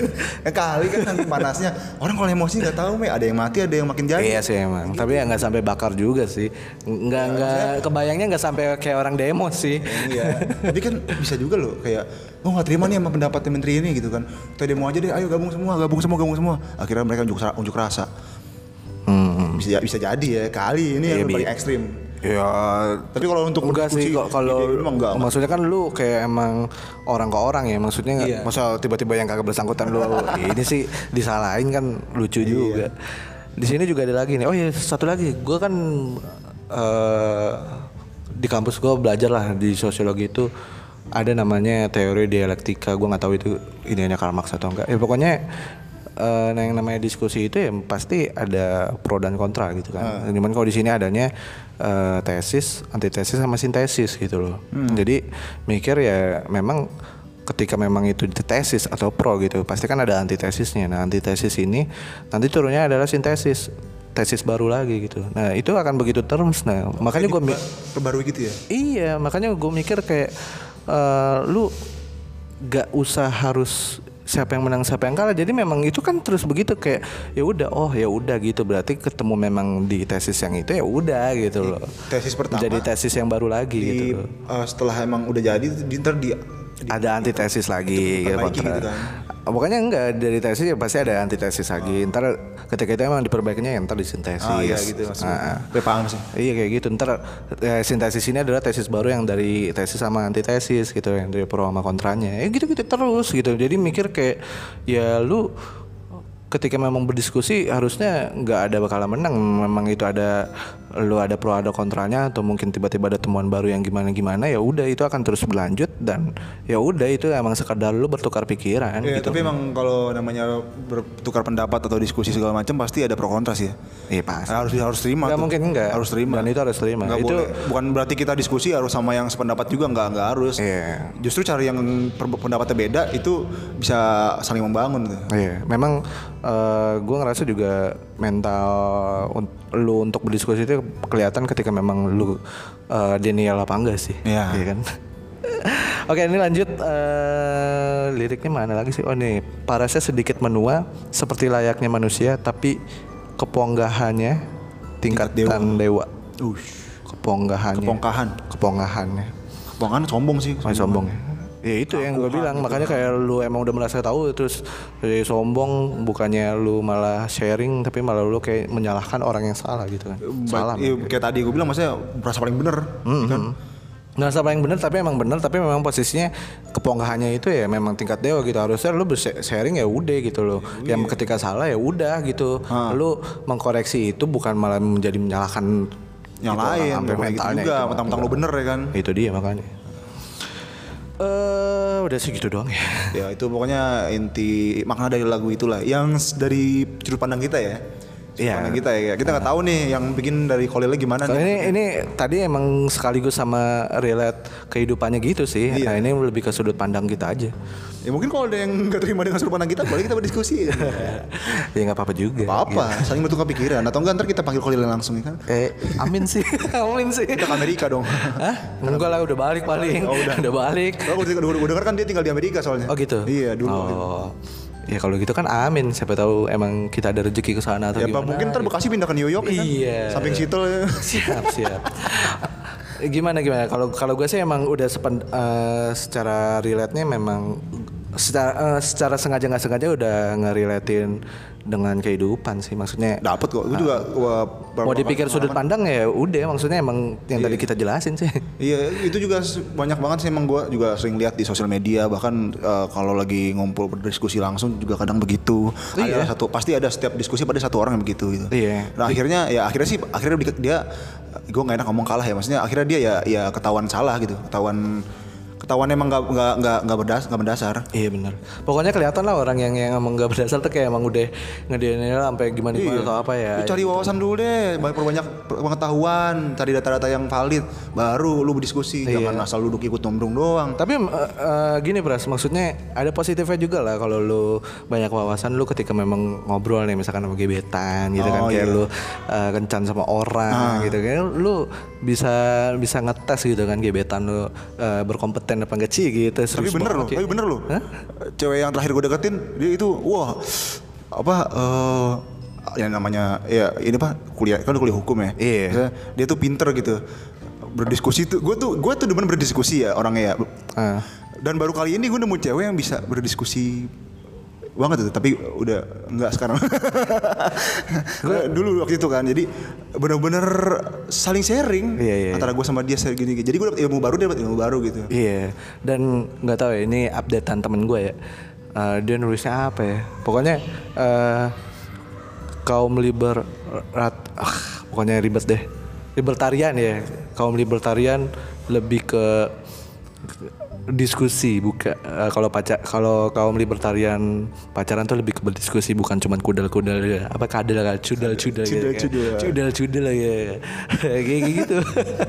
[SPEAKER 2] Eh, kali kan saking panasnya orang kalau emosi nggak tahu me ada yang mati ada yang makin jahil
[SPEAKER 1] Iya sih emang, tapi ya nggak sampai bakar juga sih. Nggak nggak kebayangnya nggak sampai kayak orang demo sih.
[SPEAKER 2] Iya. Tapi kan bisa juga loh kayak oh nggak terima nih sama pendapatnya menteri ini gitu kan. Kita demo aja deh, ayo gabung semua, gabung semua, gabung semua. Akhirnya mereka unjuk, ra- unjuk rasa.
[SPEAKER 1] Hmm.
[SPEAKER 2] Bisa bisa jadi ya kali ini yang
[SPEAKER 1] Iya,
[SPEAKER 2] paling
[SPEAKER 1] bi-
[SPEAKER 2] ekstrim.
[SPEAKER 1] Ya
[SPEAKER 2] Tapi kalau untuk
[SPEAKER 1] enggak sih
[SPEAKER 2] kunci
[SPEAKER 1] kok kalau
[SPEAKER 2] ide memang enggak.
[SPEAKER 1] maksudnya kan lu kayak emang orang ke orang ya maksudnya nggak
[SPEAKER 2] Iya.
[SPEAKER 1] masa tiba-tiba yang kagak bersangkutan lu "Oh, ini sih disalahin kan
[SPEAKER 2] Iya.
[SPEAKER 1] lucu juga. Di sini juga ada lagi nih. Oh iya satu lagi, gue kan eh, di kampus gue belajar lah di sosiologi itu ada namanya teori dialektika. Gue nggak tahu itu idenya Karl Marx atau enggak. Ya pokoknya eh nah yang namanya diskusi itu ya pasti ada pro dan kontra gitu kan. Cuman kalau di sini adanya eh, tesis, antitesis sama sintesis gitu loh. Jadi mikir ya memang ketika memang itu tesis atau pro gitu, pasti kan ada antitesisnya. Nah, antitesis ini nanti turunnya adalah sintesis, tesis baru lagi gitu. Nah, itu akan begitu terus. Nah, makanya gue
[SPEAKER 2] Perbarui gitu ya.
[SPEAKER 1] Iya, makanya gue mikir kayak eh, lu gak usah harus siapa yang menang siapa yang kalah. Jadi memang itu kan terus begitu kayak ya udah, oh ya udah gitu. Berarti ketemu memang di tesis yang itu ya udah gitu loh.
[SPEAKER 2] Tesis pertama
[SPEAKER 1] Jadi tesis yang baru lagi gitu.
[SPEAKER 2] di,
[SPEAKER 1] loh.
[SPEAKER 2] eh, setelah emang udah jadi di, ntar di, di-
[SPEAKER 1] Ada antitesis lagi gitu,
[SPEAKER 2] perbaiki
[SPEAKER 1] kontra. Oh,
[SPEAKER 2] gitu kan.
[SPEAKER 1] Pokoknya enggak dari tesis ya pasti ada antitesis lagi. Ntar ketika itu emang diperbaikinya ya ntar disintesis.
[SPEAKER 2] ah, iya gitu maksudnya.
[SPEAKER 1] Ah, ah.
[SPEAKER 2] Gue paham sih.
[SPEAKER 1] Iya kayak gitu. Ntar eh, sintesis ini adalah tesis baru yang dari tesis sama antitesis gitu, yang dari pro sama kontranya. Ya gitu-gitu terus gitu. Jadi mikir kayak ya lu ketika memang berdiskusi harusnya nggak ada bakalan menang. Memang itu ada lu ada pro ada kontranya atau mungkin tiba-tiba ada temuan baru yang gimana gimana ya udah itu akan terus berlanjut dan ya udah itu emang sekedar lu bertukar pikiran
[SPEAKER 2] Iya,
[SPEAKER 1] gitu.
[SPEAKER 2] tapi emang kalau namanya bertukar pendapat atau diskusi segala macam pasti ada pro kontra sih ya.
[SPEAKER 1] Iya pasti.
[SPEAKER 2] harus harus terima
[SPEAKER 1] Nggak
[SPEAKER 2] tuh.
[SPEAKER 1] mungkin nggak.
[SPEAKER 2] harus terima
[SPEAKER 1] Dan itu harus terima.
[SPEAKER 2] Nggak
[SPEAKER 1] Itu-
[SPEAKER 2] boleh. bukan berarti kita diskusi harus sama yang sependapat juga nggak nggak harus
[SPEAKER 1] Iya.
[SPEAKER 2] justru cari yang per- pendapatnya beda itu bisa saling membangun tuh.
[SPEAKER 1] Iya, memang gue ngerasa juga mental un- lu untuk berdiskusi itu kelihatan ketika memang lu eh, denial apa enggak sih,
[SPEAKER 2] Iya.
[SPEAKER 1] kan? Oke, ini lanjut eh, liriknya mana lagi sih? Oh nih, parasnya sedikit menua seperti layaknya manusia, tapi keponggahannya tingkatan dewa.
[SPEAKER 2] Ush,
[SPEAKER 1] Keponggahannya.
[SPEAKER 2] pongkahan
[SPEAKER 1] Keponggahannya.
[SPEAKER 2] pongkahan sombong sih
[SPEAKER 1] Masih sombong ya. Ya itu yang gue bilang, makanya kayak lu emang udah merasa tahu terus jadi sombong bukannya lu malah sharing tapi malah lu kayak menyalahkan orang yang salah gitu kan. Salah. Hmm.
[SPEAKER 2] Iya, kayak tadi gue bilang maksudnya merasa paling bener kan?
[SPEAKER 1] Ngerasa paling Nah, bener tapi emang bener tapi memang posisinya kepongkahannya itu ya memang tingkat dewa gitu harusnya lu sharing ya udah gitu loh.
[SPEAKER 2] Iya.
[SPEAKER 1] Yang ketika salah ya udah gitu. Lu mengkoreksi itu bukan malah menjadi menyalahkan itu
[SPEAKER 2] yang
[SPEAKER 1] orang sampai
[SPEAKER 2] lain bukan gitu
[SPEAKER 1] mentalnya
[SPEAKER 2] juga
[SPEAKER 1] itu.
[SPEAKER 2] mentang-mentang lo bener ya kan
[SPEAKER 1] Itu dia makanya. Eh udah sih gitu doang ya.
[SPEAKER 2] ya itu pokoknya inti makna dari lagu itulah yang s- dari sudut pandang kita ya sudut
[SPEAKER 1] Iya.
[SPEAKER 2] pandang kita ya kita nggak tahu nih yang bikin dari kolilnya gimana
[SPEAKER 1] Kalau Nah,
[SPEAKER 2] nih
[SPEAKER 1] ini ini tadi emang sekaligus sama relate kehidupannya gitu sih. Nah, ini lebih ke sudut pandang kita aja.
[SPEAKER 2] Ya mungkin kalau ada yang nggak terima dengan sudut pandang kita, boleh kita berdiskusi. Gak
[SPEAKER 1] ya nggak apa-apa juga. Iya.
[SPEAKER 2] apa-apa, saling bertukar pikiran. Atau enggak ntar kita panggil Kolil langsung ya kan?
[SPEAKER 1] Eh, amin sih. amin sih.
[SPEAKER 2] Kita ke Amerika dong.
[SPEAKER 1] Hah? Enggak lah udah balik paling.
[SPEAKER 2] Oh, udah.
[SPEAKER 1] balik.
[SPEAKER 2] Kalau gue denger, gue denger kan dia tinggal di Amerika soalnya.
[SPEAKER 1] Oh gitu.
[SPEAKER 2] Iya dulu.
[SPEAKER 1] Oh. Ya kalau gitu kan amin. Siapa tahu emang kita ada rezeki ke sana atau
[SPEAKER 2] Ya Pak,
[SPEAKER 1] gimana.
[SPEAKER 2] mungkin ntar Bekasi pindah ke New York ya kan?
[SPEAKER 1] Iya.
[SPEAKER 2] Samping situ ya.
[SPEAKER 1] siap siap gimana gimana kalau kalau gue sih emang udah sepen, eh, secara relate nya memang secara eh, secara sengaja nggak sengaja udah ngeriletin dengan kehidupan sih maksudnya
[SPEAKER 2] Dapat kok. Gue juga wah, beberapa
[SPEAKER 1] mau dipikir
[SPEAKER 2] kali
[SPEAKER 1] sudut pandang ya udah maksudnya emang yang tadi kita jelasin sih
[SPEAKER 2] Iya, itu juga se- banyak banget sih emang gue juga sering lihat di sosial media bahkan eh, kalau lagi ngumpul berdiskusi langsung juga kadang begitu.
[SPEAKER 1] Iya.
[SPEAKER 2] Ada satu pasti ada setiap diskusi pada satu orang yang begitu gitu.
[SPEAKER 1] Iya.
[SPEAKER 2] Nah, akhirnya ya akhirnya sih akhirnya di- dia gue nggak enak ngomong kalah ya maksudnya akhirnya dia ya ya ketahuan salah gitu ketahuan ketahuan emang nggak nggak nggak nggak berdas nggak berdasar.
[SPEAKER 1] Iya benar. Pokoknya kelihatan lah orang yang yang emang nggak berdasar tuh kayak emang udah ngedenial sampai gimana gimana atau apa ya.
[SPEAKER 2] Lu cari wawasan dulu deh, banyak perbanyak pengetahuan, cari data-data yang valid, baru lu berdiskusi,
[SPEAKER 1] Iya.
[SPEAKER 2] jangan asal duduk ikut nombrung doang.
[SPEAKER 1] Tapi em, eh, eh, gini Pras, maksudnya ada positifnya juga lah kalau lu banyak wawasan lu ketika memang ngobrol nih misalkan sama gebetan gitu
[SPEAKER 2] Oh,
[SPEAKER 1] kan
[SPEAKER 2] iya.
[SPEAKER 1] kayak lu eh, kencan sama
[SPEAKER 2] Ah.
[SPEAKER 1] orang gitu kan lu bisa bisa ngetes gitu kan gebetan lu eh, berkompeten apa enggak sih gitu.
[SPEAKER 2] tapi
[SPEAKER 1] Serius
[SPEAKER 2] bener
[SPEAKER 1] banget
[SPEAKER 2] loh,
[SPEAKER 1] ya.
[SPEAKER 2] tapi bener loh. Cewek yang terakhir gue deketin, dia itu wah apa eh yang namanya ya ini pak kuliah kan udah kuliah hukum ya.
[SPEAKER 1] Iya.
[SPEAKER 2] Maksudnya Dia tuh pinter gitu berdiskusi tuh gue tuh gue tuh demen berdiskusi ya orangnya ya
[SPEAKER 1] Ah.
[SPEAKER 2] dan baru kali ini gue nemu cewek yang bisa berdiskusi banget itu tapi udah enggak sekarang dulu waktu itu kan jadi bener-bener saling sharing
[SPEAKER 1] Iya, iya, iya.
[SPEAKER 2] antara gue sama dia share gini jadi gue dapet ilmu baru dia dapet ilmu baru gitu
[SPEAKER 1] Iya, dan nggak tahu ya ini updatean temen gue ya. Eh, dia nulisnya apa ya? Pokoknya eh kaum liber rat, ah, pokoknya ribet deh. Libertarian ya, kaum libertarian lebih ke diskusi buka eh, kalau pacar kalau kaum libertarian pacaran tuh lebih ke berdiskusi bukan cuman kudel-kudel ya. apa kadel kan cudel-cudel gitu kan.
[SPEAKER 2] Cudel-cudel.
[SPEAKER 1] cudel-cudel ya kayak gitu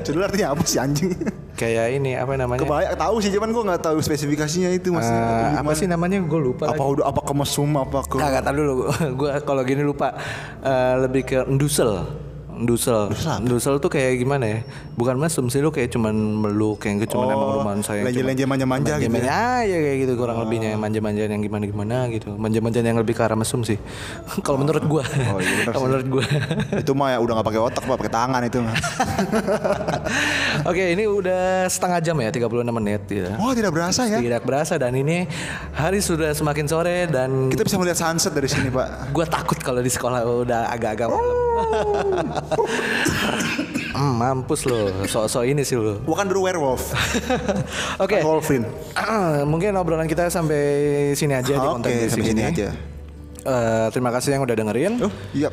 [SPEAKER 2] Cedul artinya apa sih anjing?
[SPEAKER 1] kayak ini apa namanya
[SPEAKER 2] Kebanyak tahu sih, cuman gue nggak tahu spesifikasinya itu mas.
[SPEAKER 1] Eh, apa sih namanya gue lupa
[SPEAKER 2] Apa udah apa ke mesum apa ke?
[SPEAKER 1] Nggak, nggak, tar dulu gue kalau gini lupa Eh, lebih ke ndusel ndusel ndusel tuh kayak gimana ya bukan mesum sih lu kayak cuman meluk yang gitu, cuman
[SPEAKER 2] Oh,
[SPEAKER 1] emang rumah saya
[SPEAKER 2] lenje-lenje manja-manja gitu Oh.
[SPEAKER 1] manja aja kayak gitu kurang lebihnya manja-manjaan yang gimana gimana gitu manja-manjaan yang lebih ke arah mesum sih kalau menurut gue
[SPEAKER 2] Oh, iya bener
[SPEAKER 1] kalau
[SPEAKER 2] sih.
[SPEAKER 1] menurut gue
[SPEAKER 2] itu mah ya udah nggak pakai otak pak, pakai tangan itu. mah.
[SPEAKER 1] oke ini udah setengah jam ya 36 menit ya
[SPEAKER 2] Wah tidak berasa ya.
[SPEAKER 1] tidak berasa dan ini hari sudah semakin sore dan
[SPEAKER 2] Kita bisa melihat sunset dari sini pak.
[SPEAKER 1] Gue takut kalau di sekolah udah agak-agak malam. Hmm, mampus lo, sok-sok ini sih lo.
[SPEAKER 2] Bukan dulu werewolf.
[SPEAKER 1] Oke,
[SPEAKER 2] Wolfin.
[SPEAKER 1] mungkin obrolan kita sampai sini aja di konten
[SPEAKER 2] Oke
[SPEAKER 1] Basic
[SPEAKER 2] sampai sini
[SPEAKER 1] ini.
[SPEAKER 2] aja.
[SPEAKER 1] Eh, terima kasih yang udah dengerin.
[SPEAKER 2] Oh iya.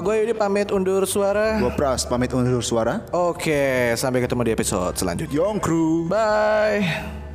[SPEAKER 1] gue Yudi pamit undur suara.
[SPEAKER 2] Gue Pras pamit undur suara.
[SPEAKER 1] Oke, sampai ketemu di episode selanjutnya.
[SPEAKER 2] Yong Crew.
[SPEAKER 1] Bye.